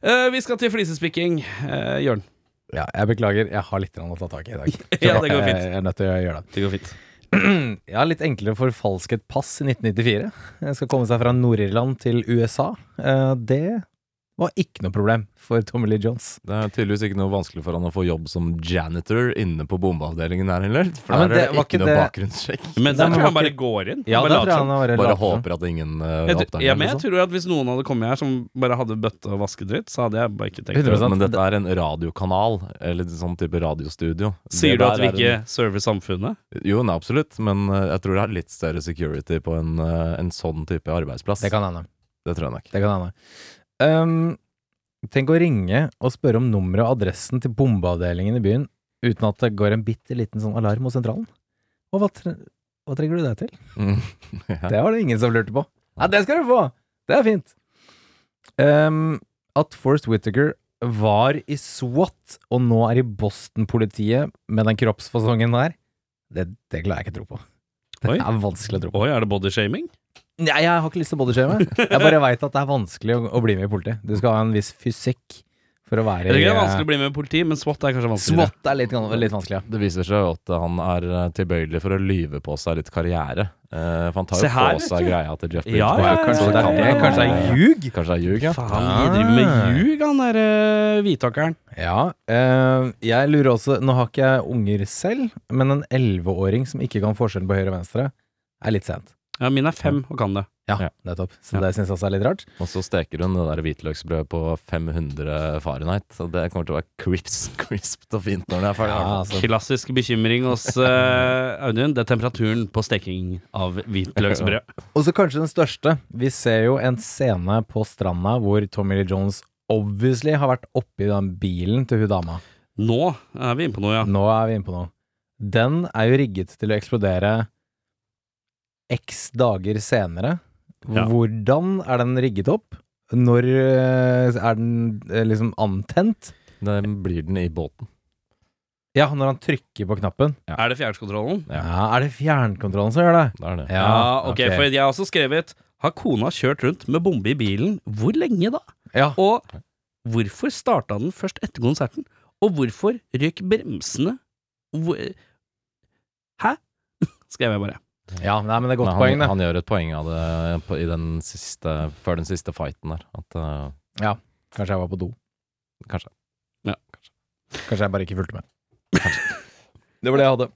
Speaker 5: Eh, vi skal til flisespikking, uh, Jørn.
Speaker 2: Ja, jeg beklager. Jeg har litt grann å ta tak i i dag.
Speaker 5: Ja, det går fint.
Speaker 2: Jeg er nødt til å gjøre det.
Speaker 5: Det går fint.
Speaker 2: Jeg har litt enklere forfalsket pass i 1994. Jeg skal komme seg fra Nord-Irland til USA. Eh, Det var ikke noe problem for Tommy Lee Jones.
Speaker 4: Det er tydeligvis ikke noe vanskelig for han å få jobb som janitor inne på bombeavdelingen her heller. For
Speaker 2: Ja, men
Speaker 4: der er
Speaker 2: det
Speaker 4: det
Speaker 2: var
Speaker 4: ikke
Speaker 2: ikke
Speaker 4: noe
Speaker 2: det-
Speaker 4: bakgrunnssjekk.
Speaker 5: Men
Speaker 2: Nei,
Speaker 5: der
Speaker 2: men
Speaker 5: tror jeg han
Speaker 2: var
Speaker 5: bare
Speaker 2: ikke-
Speaker 5: går inn.
Speaker 2: Ja,
Speaker 5: bare
Speaker 2: da
Speaker 5: later
Speaker 2: tror jeg han
Speaker 5: som.
Speaker 2: har vært
Speaker 4: Bare
Speaker 2: later som.
Speaker 4: håper at ingen
Speaker 5: jeg,
Speaker 4: eh, oppdager
Speaker 5: tror- ja,
Speaker 4: det,
Speaker 5: men
Speaker 4: liksom.
Speaker 5: jeg tror at Hvis noen hadde kommet her som bare hadde bøtte og vaskedritt, så hadde jeg bare ikke tenkt det.
Speaker 2: 100%.
Speaker 4: Men dette er en radiokanal, eller sånn type radiostudio.
Speaker 5: Sier
Speaker 4: Det
Speaker 5: du at vi
Speaker 4: der er
Speaker 5: ikke server samfunnet?
Speaker 4: En, jo, nei, absolutt, men eh, jeg tror det er litt større security på en, eh, en sånn type arbeidsplass.
Speaker 2: Det kan hende.
Speaker 4: Det tror jeg nok.
Speaker 2: Det kan hende. Ehm, tenk å ringe og spørre om nummeret og adressen til bombeavdelingen i byen uten at det går en bitte liten sånn alarm hos sentralen. Og hva, tre hva trenger du det til?
Speaker 4: Mm. ja.
Speaker 2: Det var det ingen som lurte på. Ja, det skal du få! Det er fint. Ehm, at Forrest Whittaker var i SWAT og nå er i Boston-politiet med den kroppsfasongen der, det, det klarer jeg ikke å tro på. Det
Speaker 5: Oi.
Speaker 2: er vanskelig å tro på.
Speaker 5: Oi, er det bodyshaming?
Speaker 2: Nei, jeg har ikke lyst til å bodyshame. Jeg bare veit at det er vanskelig å, å bli med i politiet. Du skal ha en viss fysikk for å
Speaker 5: Det
Speaker 2: være
Speaker 5: er
Speaker 2: i
Speaker 5: ikke
Speaker 2: eh,
Speaker 5: vanskelig å bli med i politi, men SWAT er kanskje vanskeligere.
Speaker 2: SWAT er litt, gan- litt vanskelig, ja.
Speaker 4: Det viser seg jo at han er eh, tilbøyelig for å lyve på seg litt karriere. Eh, for han tar
Speaker 5: Se
Speaker 4: jo
Speaker 5: her,
Speaker 4: på
Speaker 5: vet
Speaker 4: seg
Speaker 5: du.
Speaker 4: greia til Jeff Bridges.
Speaker 5: Ja, ja, ja,
Speaker 2: Kanskje det er det? Kanskje det er ljug?
Speaker 4: Kanskje det er ljug, ja.
Speaker 5: Faen, de driver med ljug, han der eh, hvitåkeren.
Speaker 2: Ja. eh, jeg lurer også Nå har ikke jeg unger selv, men en elleveåring som ikke kan forskjellen på høyre og venstre, er litt sent.
Speaker 5: Ja, min er fem og kan det.
Speaker 2: Ja,
Speaker 4: Ja.
Speaker 2: nettopp. Så
Speaker 5: Ja.
Speaker 2: det syns jeg også er litt rart.
Speaker 4: Og så steker hun det der hvitløksbrødet på 500 fahrenheit. Så det kommer til å være crisp, crispt og fint når det er ferdig.
Speaker 2: Ja, altså,
Speaker 5: Klassisk bekymring hos eh, Audun. Det er temperaturen på steking av hvitløksbrød.
Speaker 2: og så kanskje den største. Vi ser jo en scene på stranda hvor Tommy Lee Jones obviously har vært oppi den bilen til hun dama.
Speaker 5: Nå er vi inne på noe, ja.
Speaker 2: Nå er vi inne på noe. Den er jo rigget til å eksplodere x dager senere.
Speaker 5: Ja.
Speaker 2: Hvordan er den rigget opp? Når eh, er den eh, liksom antent?
Speaker 4: Det blir den i båten.
Speaker 2: Ja, når han trykker på knappen.
Speaker 5: Er det fjernkontrollen?
Speaker 2: Ja, Er det fjernkontrollen som gjør det?
Speaker 4: Det er det.
Speaker 5: Ja, ok, for jeg har også skrevet Har kona kjørt rundt med bombe i bilen? Hvor lenge da?
Speaker 2: ja.
Speaker 5: Og hvorfor starta den først etter konserten? Og hvorfor røk bremsene? Hvor... Hæ? Skrev jeg bare.
Speaker 2: ja, nei, men det er et godt
Speaker 4: Nei,
Speaker 2: poeng,
Speaker 4: han,
Speaker 2: det.
Speaker 4: han gjør et poeng av det på, i den siste, før den siste fighten der. At, eh,
Speaker 2: Kanskje jeg var på do.
Speaker 4: Kanskje.
Speaker 5: Ja.
Speaker 2: Kanskje jeg bare ikke fulgte med. Det var det jeg hadde.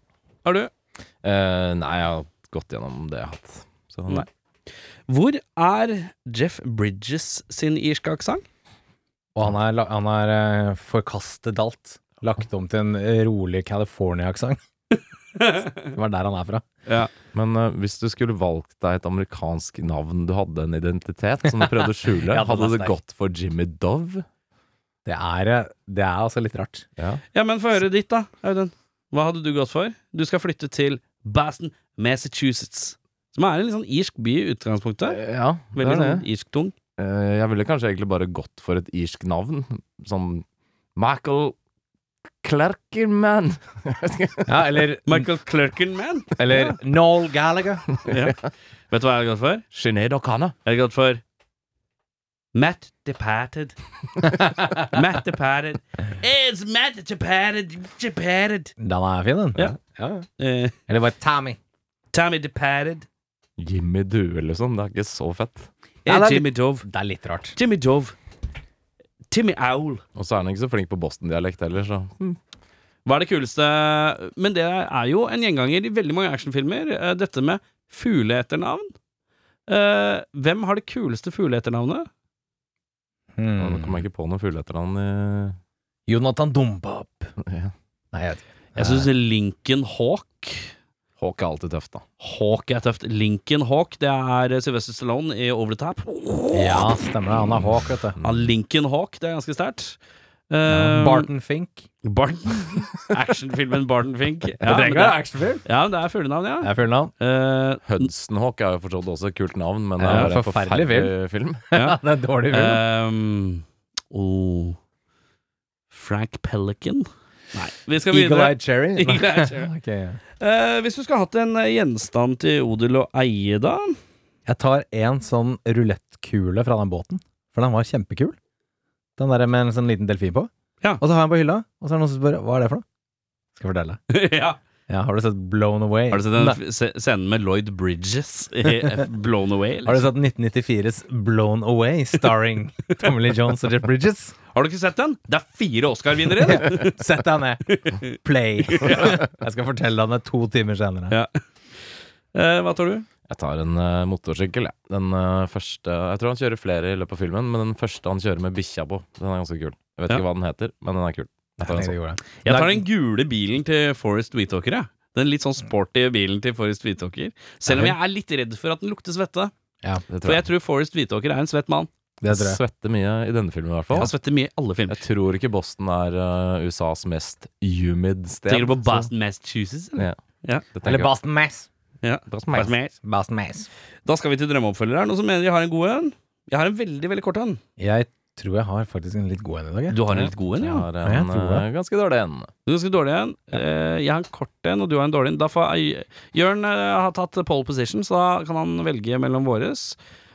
Speaker 5: Har du?
Speaker 4: eh, nei, jeg har gått gjennom det jeg har hatt. Så nei.
Speaker 5: Hvor er Jeff Bridges sin irske aksent?
Speaker 2: Og han er, la- han er eh, forkastet alt. Lagt om til en eh, rolig California-aksent. Det var der han er fra.
Speaker 4: Men eh, hvis du skulle valgt deg et amerikansk navn, du hadde en identitet som du prøvde å skjule,
Speaker 2: Ja, den er
Speaker 4: hadde det
Speaker 2: sterk.
Speaker 4: gått for Jimmy Dove?
Speaker 2: Det er, eh, det er altså litt rart.
Speaker 4: Ja.
Speaker 5: Ja, men få høre ditt, da, Audun. Hva hadde du gått for? Du skal flytte til Boston, Massachusetts. Som er en litt sånn irsk by i utgangspunktet.
Speaker 4: Eh, ja det
Speaker 5: Veldig
Speaker 4: er det.
Speaker 5: sånn irsk tung.
Speaker 4: Eh, Jeg ville kanskje egentlig bare gått for et irsk navn. Sånn Michael Clerkenman.
Speaker 2: Ja, eller,
Speaker 5: Michael Clerkenman.
Speaker 2: eller Noel Gallagher.
Speaker 5: ja. Vet du hva jeg hadde gått for?
Speaker 4: Sinead O'Connor.
Speaker 5: Jeg hadde gått for Matt Departed. Matt Departed. It's Matt Departed. Departed.
Speaker 2: Den er fin, den.
Speaker 5: Ja. Eh,
Speaker 2: Eller bare Tammy.
Speaker 5: Tommy Departed.
Speaker 4: Jimmy Due, liksom. Det er ikke så fett.
Speaker 2: Ja, det er
Speaker 5: Jimmy Dove.
Speaker 2: Det er litt rart.
Speaker 5: Jimmy Dove. Timmy Owl.
Speaker 4: Og så er han ikke så flink på Boston-dialekt heller, så
Speaker 5: Hva er det kuleste Men det er jo en gjenganger i veldig mange actionfilmer. eh, Dette med fugleetternavn. Eh, hvem har det kuleste fugleetternavnet?
Speaker 4: Nå
Speaker 2: Mm.
Speaker 4: kom jeg ikke på noe fugleetternavn i
Speaker 2: Hmm. Jonathan Dumbab.
Speaker 4: Ja.
Speaker 2: Nei, jeg vet ikke.
Speaker 5: Jeg syns Lincoln Hawk
Speaker 4: Hawk er alltid tøft, da.
Speaker 5: Hawk er tøft. Lincoln Hawk, det er Sylvester Stallone i Over the Tap.
Speaker 2: Ja, stemmer det. Han er Hawk, vet du.
Speaker 5: Ja, Lincoln Hawk, det er ganske sterkt. Eh,
Speaker 2: Barton Fink.
Speaker 5: Barton. Actionfilmen Barton Fink. Ja,
Speaker 2: Det
Speaker 5: men
Speaker 2: trenger
Speaker 5: det
Speaker 2: ikke
Speaker 5: er,
Speaker 2: være actionfilm.
Speaker 5: ja, men det er fuglenavn, ja.
Speaker 2: Jeg føler navn.
Speaker 5: Eh,
Speaker 4: Hudson Hawk er jo forstått også et kult navn, men det
Speaker 2: Ja,
Speaker 4: er en
Speaker 2: forferdelig
Speaker 4: forferdelig film.
Speaker 5: Eh,
Speaker 2: Ja, det er dårlig film.
Speaker 5: ehm, oh. Frank Pelican? Nei, vi skal
Speaker 2: Eagle
Speaker 5: videre.
Speaker 2: Eye Uh, Cherry.
Speaker 5: Eagle Eye Cherry.
Speaker 2: Ok, ja.
Speaker 5: Eh, hvis du skulle hatt en eh, gjenstand til odel og eie, da?
Speaker 2: Jeg tar en sånn rulettkule fra den båten, for den var kjempekul. Den der med en sånn liten delfin på.
Speaker 5: Ja.
Speaker 2: Og så har jeg den på hylla, og så er det noen som spør hva er det for noe? Skal jeg fortelle.
Speaker 5: ja.
Speaker 2: Ja, har du sett Blown Away?
Speaker 5: Har du sett den
Speaker 2: Nei.
Speaker 5: f- se- scenen med Lloyd Bridges i F- Blown Away?
Speaker 2: Har du
Speaker 5: Liksom?
Speaker 2: sett 1994s Blown Away, starring Tommy Lee Jones og Jeff Bridges?
Speaker 5: Har du ikke sett den? Det er fire Oscar-vinnere! i den.
Speaker 2: Sett deg ned. Play. Jeg skal fortelle deg det to timer senere.
Speaker 5: Ja. Eh, hva tar du?
Speaker 4: Jeg tar en eh, motorsykkel, jeg. Den eh, første Jeg tror han kjører flere i løpet av filmen, men den første han kjører med bikkja på, den er ganske kul. Jeg vet
Speaker 5: Ja.
Speaker 4: ikke hva den heter, men den er kul. Jeg tar en sånn.
Speaker 5: Jeg tar den gule bilen til Forest Weetalker, jeg. Den litt sånn sporty bilen til Forest Weetalker. Selv om jeg er litt redd for at den lukter svette.
Speaker 2: Ja,
Speaker 4: Det
Speaker 5: For jeg
Speaker 4: tror jeg.
Speaker 5: tror Forest Weetalker er en svett mann.
Speaker 2: det tror jeg.
Speaker 4: Svetter mye i denne filmen, i hvert fall.
Speaker 5: Han svetter mye i alle filmer.
Speaker 4: Jeg tror ikke Boston er eh, USAs mest humid sted.
Speaker 5: Tenker du på
Speaker 4: så-
Speaker 5: Boston, Massachusetts? eller?
Speaker 4: Ja.
Speaker 5: Ja.
Speaker 4: Det tenker
Speaker 2: Eller
Speaker 4: jeg.
Speaker 2: Boston Mass.
Speaker 5: Ja. Boston, Mass.
Speaker 2: Boston Mass.
Speaker 5: Da skal vi til drømmeoppfølgeren. Noen som mener de har en god en? Jeg har en veldig veldig kort en.
Speaker 2: Jeg tror jeg har faktisk en litt god en i dag. jeg.
Speaker 5: Du har en litt god en,
Speaker 4: Jeg
Speaker 5: ja?
Speaker 4: har
Speaker 2: jeg
Speaker 4: en
Speaker 2: tror det.
Speaker 4: eh, ganske dårlig en.
Speaker 5: Du er ganske dårlig en. Eh, Jeg har en kort en, og du har en dårlig en. Da får jeg- Jørn eh, har tatt pole position, så da kan han velge mellom våres.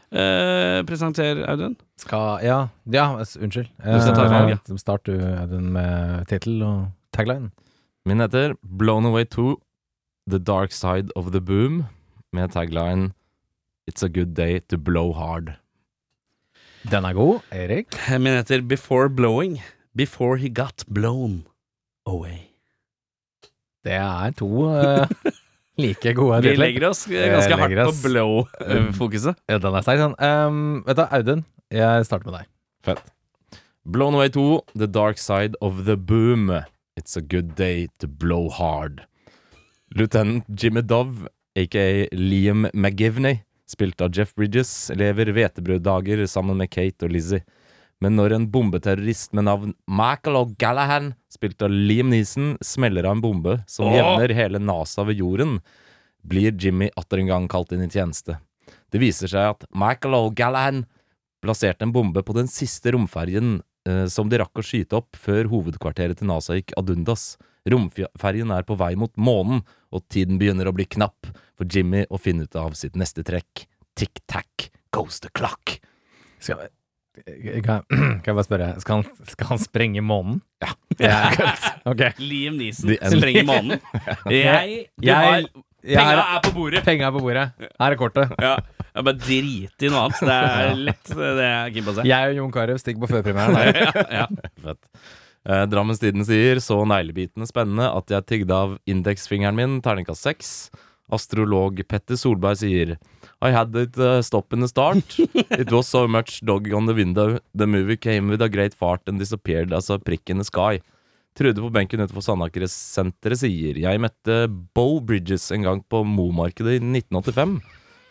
Speaker 5: Eh, Presenter Audun.
Speaker 2: Skal Ja, ja s- unnskyld. Du
Speaker 5: skal ta valget.
Speaker 2: Start du Audun, med tittel og tagline.
Speaker 4: Min heter Blown Away 2 The Dark Side of the Boom, med tagline It's a good day to blow hard.
Speaker 2: Den er god, Erik.
Speaker 5: Min heter Before Blowing. Before he got blown away.
Speaker 2: Det er to eh, like gode
Speaker 5: Vi
Speaker 2: titler.
Speaker 5: legger oss ganske hardt
Speaker 2: legger
Speaker 5: på
Speaker 2: oss.
Speaker 5: blow-fokuset.
Speaker 2: Ja, den er sterk, sånn. Um, vet du, Audun, jeg starter med deg.
Speaker 4: Blown Away 2 The Dark Side of the Boom, It's a good day to blow hard. Lieutenant Jimmy Dove, aka Liam McGivney, spilt av Jeff Bridges, lever hvetebrøddager sammen med Kate og Lizzie. Men når en bombeterrorist med navn Michael O'Gallahan, spilt av Liam Neeson, smeller av en bombe som jevner hele NASA ved jorden, blir Jimmy atter en gang kalt inn i tjeneste. Det viser seg at Michael O'Gallahan plasserte en bombe på den siste romferjen eh, som de rakk å skyte opp før hovedkvarteret til NASA gikk ad undas. Romferjen er på vei mot månen, og tiden begynner å bli knapp for Jimmy å finne ut av sitt neste trekk. Tic-tac goes the clock.
Speaker 2: Skal jeg, kan, jeg, kan jeg bare spørre, skal han, skal han sprenge månen? Ja. ok.
Speaker 5: Liam Neeson
Speaker 4: The end.
Speaker 5: sprenger månen. Jeg, du har,
Speaker 2: Jeg, jeg
Speaker 5: Penga
Speaker 2: er,
Speaker 5: er på bordet.
Speaker 2: penga er på bordet. Her er kortet.
Speaker 5: Ja. Jeg bare driter i noe annet. Det er lett, det er Kim på seg.
Speaker 2: Jeg og Jon Carew stikker på førpremieren. her.
Speaker 4: Fett. Eh, Drammens Tidende sier så neglebitende spennende at jeg tygde av indeksfingeren min terningkast seks. Astrolog Petter Solberg sier I had it uh, stop in the start. It was so much dog on the window. The movie came with a great fart and disappeared as a prick in the sky. Trude på benken utenfor Sandaker-senteret sier Jeg møtte Bo Bridges en gang på Mo-markedet i 1985.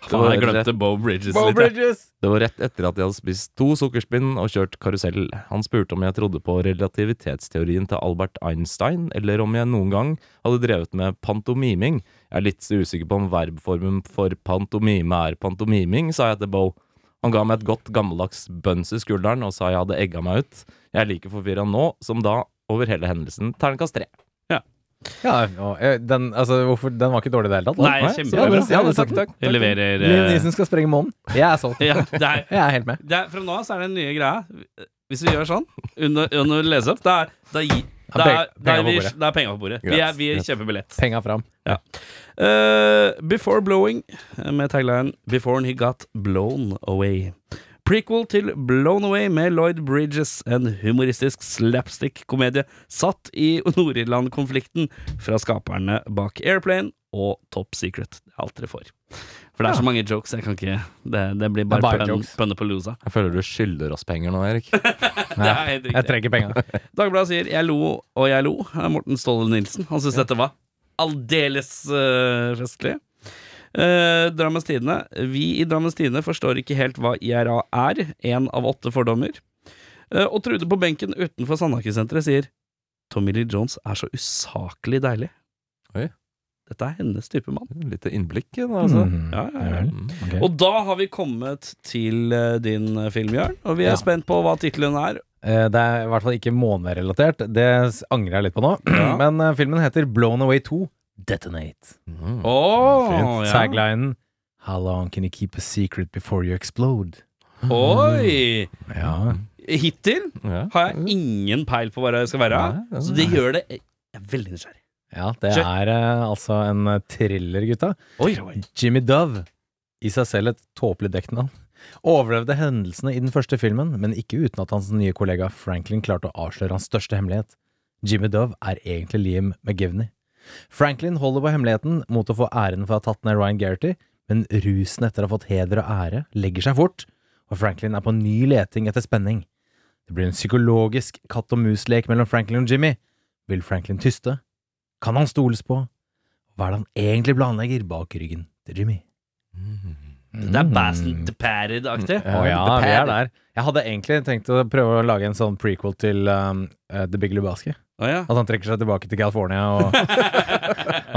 Speaker 4: Det
Speaker 5: Faen,
Speaker 4: var
Speaker 5: jeg
Speaker 4: rett-
Speaker 5: glemte Bo Bridges litt. jeg.
Speaker 2: Bridges!
Speaker 4: det var rett etter at jeg hadde spist to sukkerspinn og kjørt karusell. Han spurte om jeg trodde på relativitetsteorien til Albert Einstein, eller om jeg noen gang hadde drevet med pantomiming. Jeg er litt usikker på om verbformen for pantomime er pantomiming, sa jeg til Bo. Han ga meg et godt gammeldags bønns i skulderen og sa jeg hadde egga meg ut. Jeg er like forvirra nå som da over hele hendelsen. Terningkast tre.
Speaker 2: Ja, og, eh, den, altså, hvorfor, den var ikke dårlig i det hele tatt. da.
Speaker 5: Nei,
Speaker 2: Ja,
Speaker 5: kjempebra.
Speaker 2: men- ja, men
Speaker 4: takk,
Speaker 2: takk.
Speaker 4: takk.
Speaker 5: Jeg leverer
Speaker 2: Liam
Speaker 5: eh,
Speaker 2: Neeson skal sprenge månen. Jeg er solgt.
Speaker 5: ja, det er,
Speaker 2: Jeg er helt med.
Speaker 5: det er, Fra nå av så er det den nye greia. Hvis vi gjør sånn under, under lese opp, da er, da gi- da er, da er,
Speaker 2: Penger på
Speaker 5: vi-
Speaker 2: bordet.
Speaker 5: da er penger på bordet. Vi, er, vi
Speaker 4: Greit.
Speaker 5: kjøper billett.
Speaker 2: Penga fram.
Speaker 5: Eh, before Blowing, eh, med taglinen Before he got blown away. Prequel til Blown Away med Lloyd Bridges, en humoristisk slapstick-komedie satt i Nord-Irland-konflikten fra skaperne bak Airplane og Top Secret. Det er alt dere får. For det er så mange jokes, jeg kan ikke Det, det blir bare,
Speaker 2: bare
Speaker 5: pønn,
Speaker 2: jokes.
Speaker 5: pønnepalooza.
Speaker 4: Jeg føler du skylder oss penger nå, Erik.
Speaker 5: Det er helt
Speaker 2: Jeg
Speaker 5: riktig.
Speaker 2: trenger penga.
Speaker 5: Dagbladet sier 'jeg lo og jeg lo'. Det er Morten Ståle Nilsen. Han syns dette var aldeles eh, festlig. Eh, Drammens Tidende. Vi i Drammens Tidende forstår ikke helt hva IRA er. Én av åtte fordommer. Eh, og Trude på benken utenfor Sandaker-senteret sier Tommy Lee Jones er så usaklig deilig.
Speaker 4: Oi.
Speaker 5: Dette er hennes type mann.
Speaker 4: Litt innblikk, da, altså.
Speaker 5: Ja, ja, ja.
Speaker 2: vel.
Speaker 4: Mm.
Speaker 2: Ok.
Speaker 5: Og da har vi kommet til eh, din eh, film, Jørn. Og vi er
Speaker 2: Ja.
Speaker 5: spent på hva tittelen er.
Speaker 2: Eh, Det er i hvert fall ikke månerelatert. Det s- angrer jeg litt på nå.
Speaker 5: Ja.
Speaker 2: Men eh, filmen heter Blown Away 2 Detonate.
Speaker 4: Mm.
Speaker 5: Oh,
Speaker 2: Fint. Taglinen How long can you keep a secret before you explode?
Speaker 5: Oi!
Speaker 2: Ja.
Speaker 5: Hittil
Speaker 4: Ja.
Speaker 5: har
Speaker 2: Mm.
Speaker 5: jeg ingen peil på hva det skal være.
Speaker 4: Nei, det-
Speaker 5: Så det gjør det Jeg er veldig nysgjerrig.
Speaker 2: ja det
Speaker 5: Kjør.
Speaker 2: er eh, altså en eh, thriller, gutta.
Speaker 5: Oi,
Speaker 2: Jimmy Dove, i seg selv et tåpelig dekknavn, overlevde hendelsene i den første filmen, men ikke uten at hans nye kollega Franklin klarte å avsløre hans største hemmelighet. Jimmy Dove er egentlig Liam McGivney. Franklin holder på hemmeligheten mot å få æren for å ha tatt ned Ryan Garrity, men rusen etter å ha fått heder og ære legger seg fort, og Franklin er på ny leting etter spenning. Det blir en psykologisk katt-og-mus-lek mellom Franklin og Jimmy. Vil Franklin tyste? Kan han stoles på? Hva er det han egentlig planlegger bak ryggen til Jimmy?
Speaker 5: Det er Baston the Parrot-aktig.
Speaker 2: Å ja, vi er der. Jeg hadde egentlig tenkt å prøve å lage en sånn prequel til um, eh, The Big Lebowski.
Speaker 5: Å ja.
Speaker 2: At han trekker seg tilbake til California og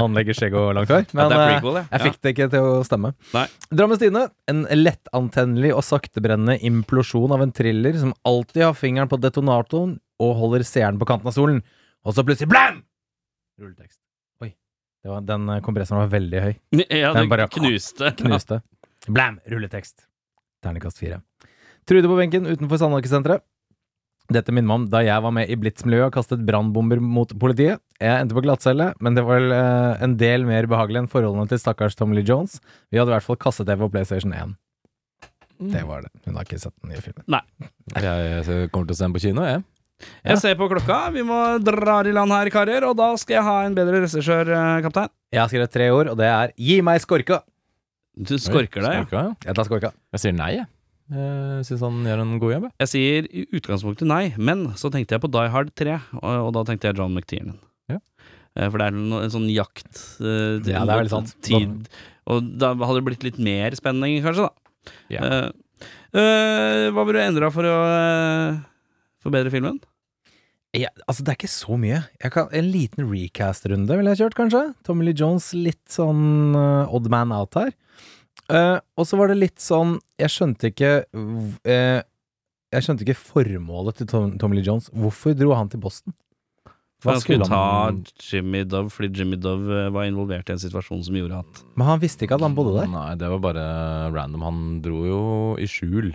Speaker 2: anlegger skjegg og langt hår.
Speaker 5: At
Speaker 2: Men
Speaker 5: det er
Speaker 2: eh,
Speaker 5: prequel, ja.
Speaker 2: jeg fikk det ikke til å stemme.
Speaker 5: Nei.
Speaker 2: Drammens Tidende. En lettantennelig og saktebrennende implosjon av en thriller som alltid har fingeren på detonatoren og holder seeren på kanten av solen. Og så plutselig blam! Rulletekst. Oi. Det var, den eh, kompressoren var veldig høy.
Speaker 5: Ja, ja det
Speaker 2: Den bare-
Speaker 5: knuste.
Speaker 2: Knuste. Blam! Rulletekst. Ternekast fire. Trude på benken utenfor Sandaker-senteret. Dette minner meg om da jeg var med i Blitz-miljøet og kastet brannbomber mot politiet. Jeg endte på glattcelle, men det var vel, eh, en del mer behagelig enn forholdene til stakkars Tommy Lee Jones. Vi hadde i hvert fall kastet-TV og PlayStation 1. Det var det. Hun har ikke sett den nye filmen.
Speaker 4: Jeg kommer til å se den på kino, jeg.
Speaker 5: Jeg ser på klokka. Vi må dra i land her, karer. Og da skal jeg ha en bedre regissør, eh, kaptein.
Speaker 2: Jeg har skrevet tre ord, og det er Gi meg skorka!
Speaker 5: Du skorker deg. ja.
Speaker 4: Skorka, ja.
Speaker 2: Jeg tar skorka.
Speaker 4: Jeg sier nei, jeg. Jeg syns han gjør en god jobb. jeg.
Speaker 5: Jeg sier i utgangspunktet nei, men så tenkte jeg på Die Hard 3, og, og da tenkte jeg John McTiernan.
Speaker 4: Ja.
Speaker 5: Eh, For det er no, en sånn jakt eh,
Speaker 2: Ja, det er veldig sant.
Speaker 5: Tid, og da hadde det blitt litt mer spenning, kanskje, da.
Speaker 4: Ja.
Speaker 5: Eh, eh, hva ville du endra for å eh, forbedre filmen?
Speaker 2: Ja, altså, det er ikke så mye. Jeg kan, en liten recast-runde ville jeg kjørt, kanskje. Tommy Lee Jones litt sånn eh, odd man out her. Eh, og så var det litt sånn Jeg skjønte ikke v- eh, Jeg skjønte ikke formålet til Tom, Tommy Lee Jones. Hvorfor dro han til Boston?
Speaker 5: For han skulle ta
Speaker 2: han?
Speaker 5: Jimmy Dove fordi Jimmy Dove eh, var involvert i en situasjon som gjorde at
Speaker 2: Men han visste ikke at han bodde der.
Speaker 4: Nei, Mm, det var bare random. Han dro jo i skjul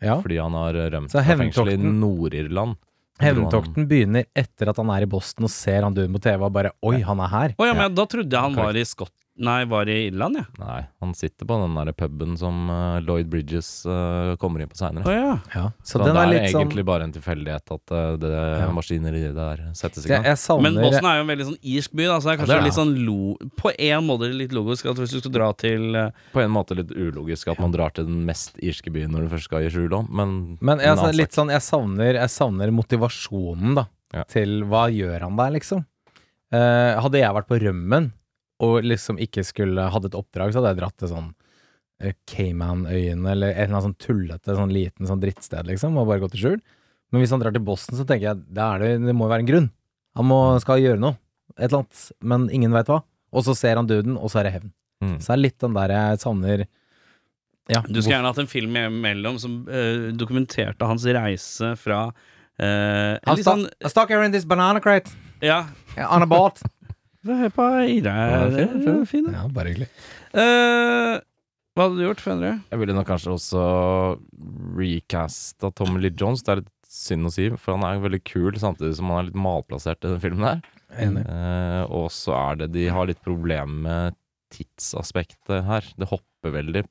Speaker 2: Ja.
Speaker 4: fordi han har rømt
Speaker 2: Så
Speaker 4: fra fengsel i
Speaker 2: hevntokten-
Speaker 4: Nord-Irland. Så dro han-
Speaker 2: Hevntokten begynner etter at han er i Boston og ser han duen på TV og bare Oi, han er her.
Speaker 5: Å ja, men da trodde jeg han var i Skott...
Speaker 1: Nei, var i Irland, jeg.
Speaker 4: Nei, han sitter på den der puben som eh, Lloyd Bridges eh, kommer inn
Speaker 1: Å
Speaker 4: på seinere.
Speaker 1: ja.
Speaker 2: Ja. Så,
Speaker 4: Så,
Speaker 2: den er
Speaker 4: det er,
Speaker 2: litt sånn
Speaker 4: egentlig bare en tilfeldighet at eh, det maskineriet der settes i
Speaker 2: jeg,
Speaker 4: gang.
Speaker 2: jeg savner
Speaker 1: Men Boston er jo en veldig sånn irsk by, da, så det er
Speaker 4: Ja, det
Speaker 1: kanskje
Speaker 4: er det.
Speaker 1: litt sånn lo på en måte litt logisk at hvis du skal dra til eh,
Speaker 4: På en måte litt ulogisk at man drar til den mest irske byen når du først skal i skjul om, men,
Speaker 2: Men jeg,
Speaker 4: en
Speaker 2: altså,
Speaker 4: annen
Speaker 2: litt sånn, jeg, savner, jeg savner motivasjonen da
Speaker 4: Ja.
Speaker 2: til hva gjør han der, liksom. Eh, hadde jeg vært på rømmen og liksom ikke skulle hadde et oppdrag, så hadde jeg dratt til sånn eh, Caymanøyene eller en eller annen sånn tullete sånn liten sånn drittsted, liksom, og bare gått i skjul. Men hvis han drar til Boston, så tenker jeg da er det, det må jo være en grunn. Han må, skal gjøre noe, et eller annet, men ingen veit hva. Og så ser han døden, og så er det hevn.
Speaker 4: Mm.
Speaker 2: Så det er litt den der jeg savner Ja,
Speaker 1: Du skulle gjerne hatt en film imellom som eh, dokumenterte hans reise fra eh, en
Speaker 2: hvorfor-
Speaker 1: litt sånn
Speaker 2: I stuck her in this banana crate
Speaker 1: Ja.
Speaker 2: on a boat.
Speaker 1: Hør på Ira.
Speaker 4: Ja, fin, fin.
Speaker 1: Fin, da.
Speaker 2: Ja, bare hyggelig.
Speaker 1: Eh, hva hadde du gjort, Fendre?
Speaker 4: Jeg ville nok kanskje også recasta Tommy Lee Jones. Det er litt synd å si, for han er veldig kul samtidig som han er litt malplassert i den filmen der.
Speaker 2: Enig.
Speaker 4: Eh, og så er det De har litt problemer med tidsaspektet her. Det hopper veldig.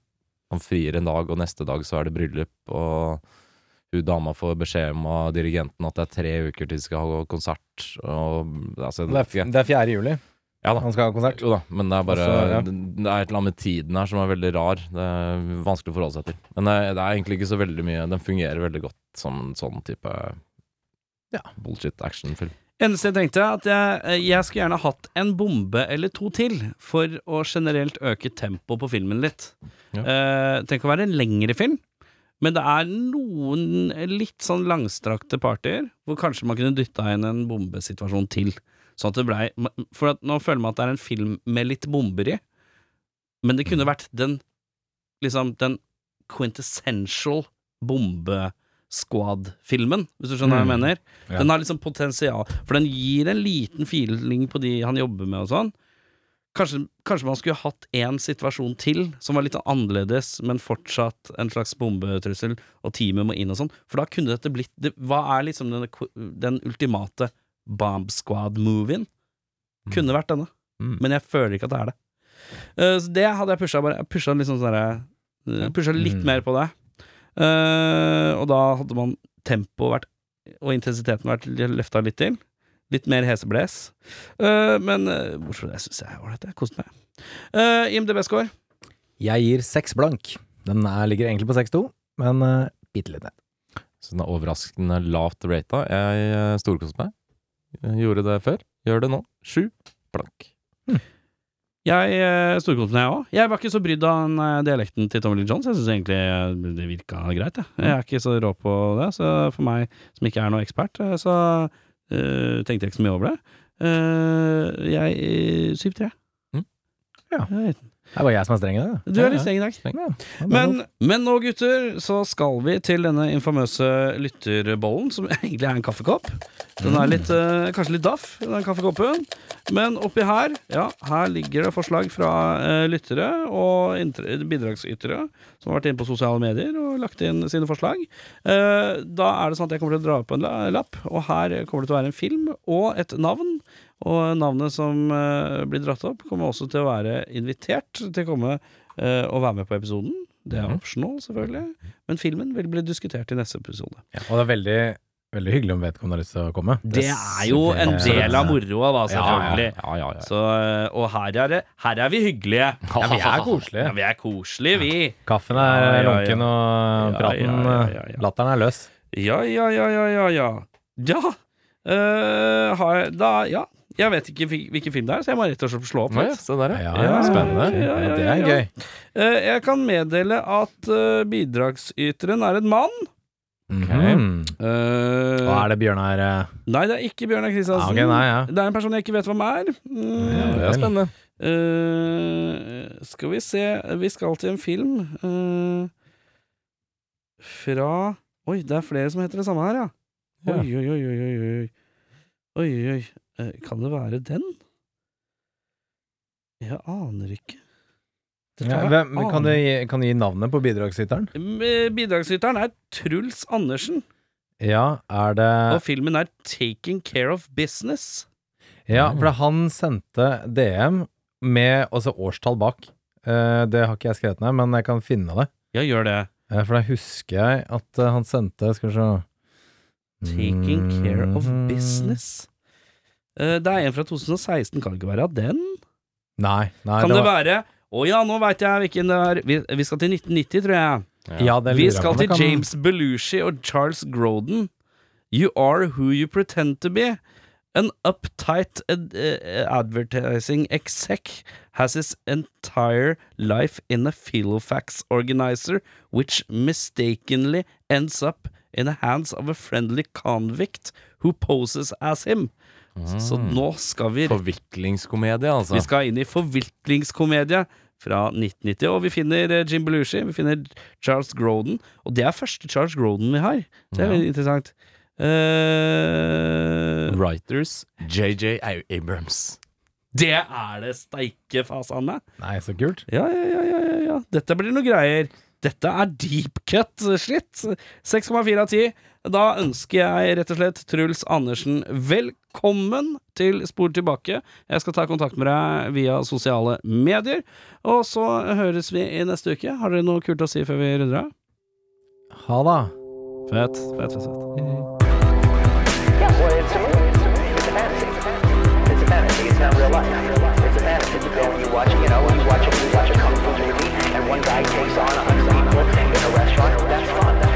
Speaker 4: Han frier en dag, og neste dag så er det bryllup, og hun dama får beskjed om av dirigenten at det er tre uker til de skal ha konsert, og altså,
Speaker 2: Det er, f- det er 4. juli
Speaker 4: Ja da.
Speaker 2: han skal ha konsert.
Speaker 4: Jo da, men det er bare
Speaker 2: Altså, ja.
Speaker 4: Det det er et eller annet med tiden her som er veldig rar. Det er vanskelig å forholde seg til. Men eh, det er, det er egentlig ikke så veldig mye Den fungerer veldig godt som en sånn type bullshit actionfilm.
Speaker 1: Eneste jeg tenkte, er at jeg, eh, jeg skulle gjerne hatt en bombe eller to til for å generelt øke tempoet på filmen litt.
Speaker 4: Ja.
Speaker 1: Eh, tenk å være en lengre film, men det er noen litt sånn langstrakte partier hvor kanskje man kunne dytta inn en bombesituasjon til. Sånn at det blei For at nå føler man at det er en film med litt bomber i, men det
Speaker 2: Mm.
Speaker 1: kunne vært den liksom den quintessential bombesquad-filmen, hvis du skjønner hva jeg
Speaker 2: Mm.
Speaker 1: mener.
Speaker 2: Ja.
Speaker 1: Den har liksom potensial, for den gir en liten feeling på de han jobber med og sånn. Kanskje, kanskje man skulle hatt én situasjon til som var litt annerledes, men fortsatt en slags bombetrussel, og teamet må inn og sånn. For da kunne dette blitt det, Hva er liksom den, den ultimate Bomb Squad-movien? Kunne vært denne,
Speaker 4: Mm.
Speaker 1: men jeg føler ikke at det er det. Eh, så det hadde jeg pusha bare. Jeg pusha liksom sånn derre- jeg pusha litt
Speaker 2: Mm.
Speaker 1: mer på det. Eh, og da hadde man tempoet vært og intensiteten vært løfta litt til. Litt mer hesebles. Eh, men eh, bortsett fra det syns jeg er ålreit. Jeg koste meg. Eh, IMDb-score.
Speaker 2: Jeg gir seks blank. Den er, ligger egentlig på 6-2, men uh, bitte litt ned.
Speaker 4: Så den er overraskende lavt rata. Jeg eh, storkoste meg. Jeg Gjorde det før. Gjør det nå. Sju blank.
Speaker 1: Jeg uh, storkoste meg, jeg òg. Jeg var ikke så brydd av den eh, dialekten til Tommy Lee Jones. Jeg syns egentlig eh, det virka greit. Jeg. jeg er ikke så rå på det, så for meg som ikke er noe ekspert, eh, så eh, tenkte jeg ikke så mye over det. Eh, jeg eh, 7-3.
Speaker 4: Mm.
Speaker 2: Ja.
Speaker 1: Jeg vet ikke.
Speaker 2: Det var jeg som er streng i det.
Speaker 1: Du er litt streng i dag.
Speaker 2: Ja, det er
Speaker 1: Men,
Speaker 2: lov.
Speaker 1: men nå, gutter, så skal vi til denne infamøse lytterbollen, som egentlig er en kaffekopp. Den er litt, eh, kanskje litt daff, den kaffekoppen. Men oppi her, ja, her ligger det forslag fra eh, lyttere og inter- bidragsytere som har vært inne på sosiale medier og lagt inn sine forslag. Eh, da er det sånn at jeg kommer til å dra opp en la- lapp, og her kommer det til å være en film og et navn. Og navnet som eh, blir dratt opp, kommer også til å være invitert til å komme eh, og være med på episoden. Det er optional, selvfølgelig. Men filmen vil bli diskutert i neste episode.
Speaker 2: Ja, og det er veldig, veldig hyggelig om vedkommende har lyst til å komme.
Speaker 1: Det er jo en
Speaker 2: Absolutt.
Speaker 1: del av moroa, da, selvfølgelig.
Speaker 4: Ja, ja, ja.
Speaker 1: Så, eh, og her er, det, her er vi hyggelige.
Speaker 2: Ja, vi er koselige.
Speaker 1: Ja, vi er koselige, vi.
Speaker 2: Kaffen er
Speaker 1: Ja, ja, ja.
Speaker 2: lunken, og
Speaker 1: Ja,
Speaker 2: praten
Speaker 1: ja, ja, ja, ja.
Speaker 2: Latteren er løs.
Speaker 1: Ja, ja, ja, ja, ja. Ja. ja. eh, har jeg, da, ja. Jeg vet ikke fi- hvilken film det er, så jeg må rett og slett slå opp.
Speaker 4: Nå,
Speaker 1: litt.
Speaker 4: ja, se der, ja.
Speaker 2: Ja,
Speaker 1: ja,
Speaker 2: spennende.
Speaker 1: ja, ja,
Speaker 2: det er
Speaker 1: ja.
Speaker 2: gøy.
Speaker 1: Eh, jeg kan meddele at eh, bidragsyteren er en mann.
Speaker 2: Mhm.
Speaker 1: Eh,
Speaker 2: Og er det Bjørnar eh,
Speaker 1: Nei, det er ikke Bjørnar
Speaker 2: ja,
Speaker 1: Kristiansen.
Speaker 2: Ok, nei, ja.
Speaker 1: Det er en person jeg ikke vet hvem er. Mm.
Speaker 2: Ja,
Speaker 4: Det er
Speaker 2: vel.
Speaker 4: spennende.
Speaker 1: Eh, skal vi se Vi skal til en film eh, fra Oi, det er flere som heter det samme her, ja.
Speaker 4: Ja.
Speaker 1: Oi, oi, oi, oi, oi, oi. oi, oi. Eh, kan det være den? Jeg aner ikke. Dette
Speaker 2: Ja,
Speaker 1: er
Speaker 2: hvem, kan,
Speaker 5: Ah.
Speaker 2: du
Speaker 1: aner-
Speaker 2: gi, kan du gi navnet på bidragsyteren?
Speaker 1: Eh, Bidragsyteren er Truls Andersen,
Speaker 2: Ja, er det
Speaker 1: og filmen
Speaker 2: Mm.
Speaker 1: er Taking Care of Business.
Speaker 2: Ja, for han sendte DM med altså, årstall bak. Eh, det har ikke jeg skrevet ned, men jeg kan finne det.
Speaker 5: Ja, gjør det.
Speaker 2: Eh, for da husker jeg at eh, han sendte Skal vi se
Speaker 5: Taking care of
Speaker 2: Mhm.
Speaker 5: business. Eh, Det er en fra 2016, kan det ikke være den?
Speaker 2: Nei. nei
Speaker 5: Kan
Speaker 2: det
Speaker 5: det
Speaker 2: var,
Speaker 5: være Å ja, nå veit jeg hvilken det er. Vi, vi skal til 1990, tror jeg.
Speaker 2: ja, det
Speaker 5: Vi
Speaker 2: lurer jeg
Speaker 5: skal
Speaker 2: på. Det
Speaker 5: til
Speaker 2: kan-
Speaker 5: James Belushi og Charles Groden. You are who you pretend to be. An uptight ad eh, advertising exec has his entire life in a Filofax organizer, which mistakenly ends up in the hands of a friendly convict who poses as him. Så nå skal vi
Speaker 4: Forviklingskomedie, altså.
Speaker 5: vi skal inn i forviklingskomedie fra 1990, og vi finner eh, Jim Belushi, vi finner Charles Groden, og det er første Charles Groden vi har. Det
Speaker 4: Ja.
Speaker 5: er veldig interessant. Eh,
Speaker 4: Writers JJ Abrams.
Speaker 5: det er det steike fasene.
Speaker 2: Nei, så kult.
Speaker 5: Ja, ja, ja, ja, ja, ja. Dette blir noe greier. Dette er deep cut eh, shit. 6,4 av 10. Da ønsker jeg rett og slett Truls Andersen velkommen til Spor tilbake. Jeg skal ta kontakt med deg via sosiale medier. Og så høres vi i neste uke. Har dere noe kult å si før vi runder av?
Speaker 2: Ha det.
Speaker 5: Fett, fett, fett, fett.
Speaker 3: Yeah, well, it's a movie. It's a movie. It's a fantasy. It's a fantasy. It's not real life. It's a fantasy. You go and you watch it, you know, and you watch it, you watch a kung fu movie, and one guy takes on a hundred people in a restaurant. That's fun. That's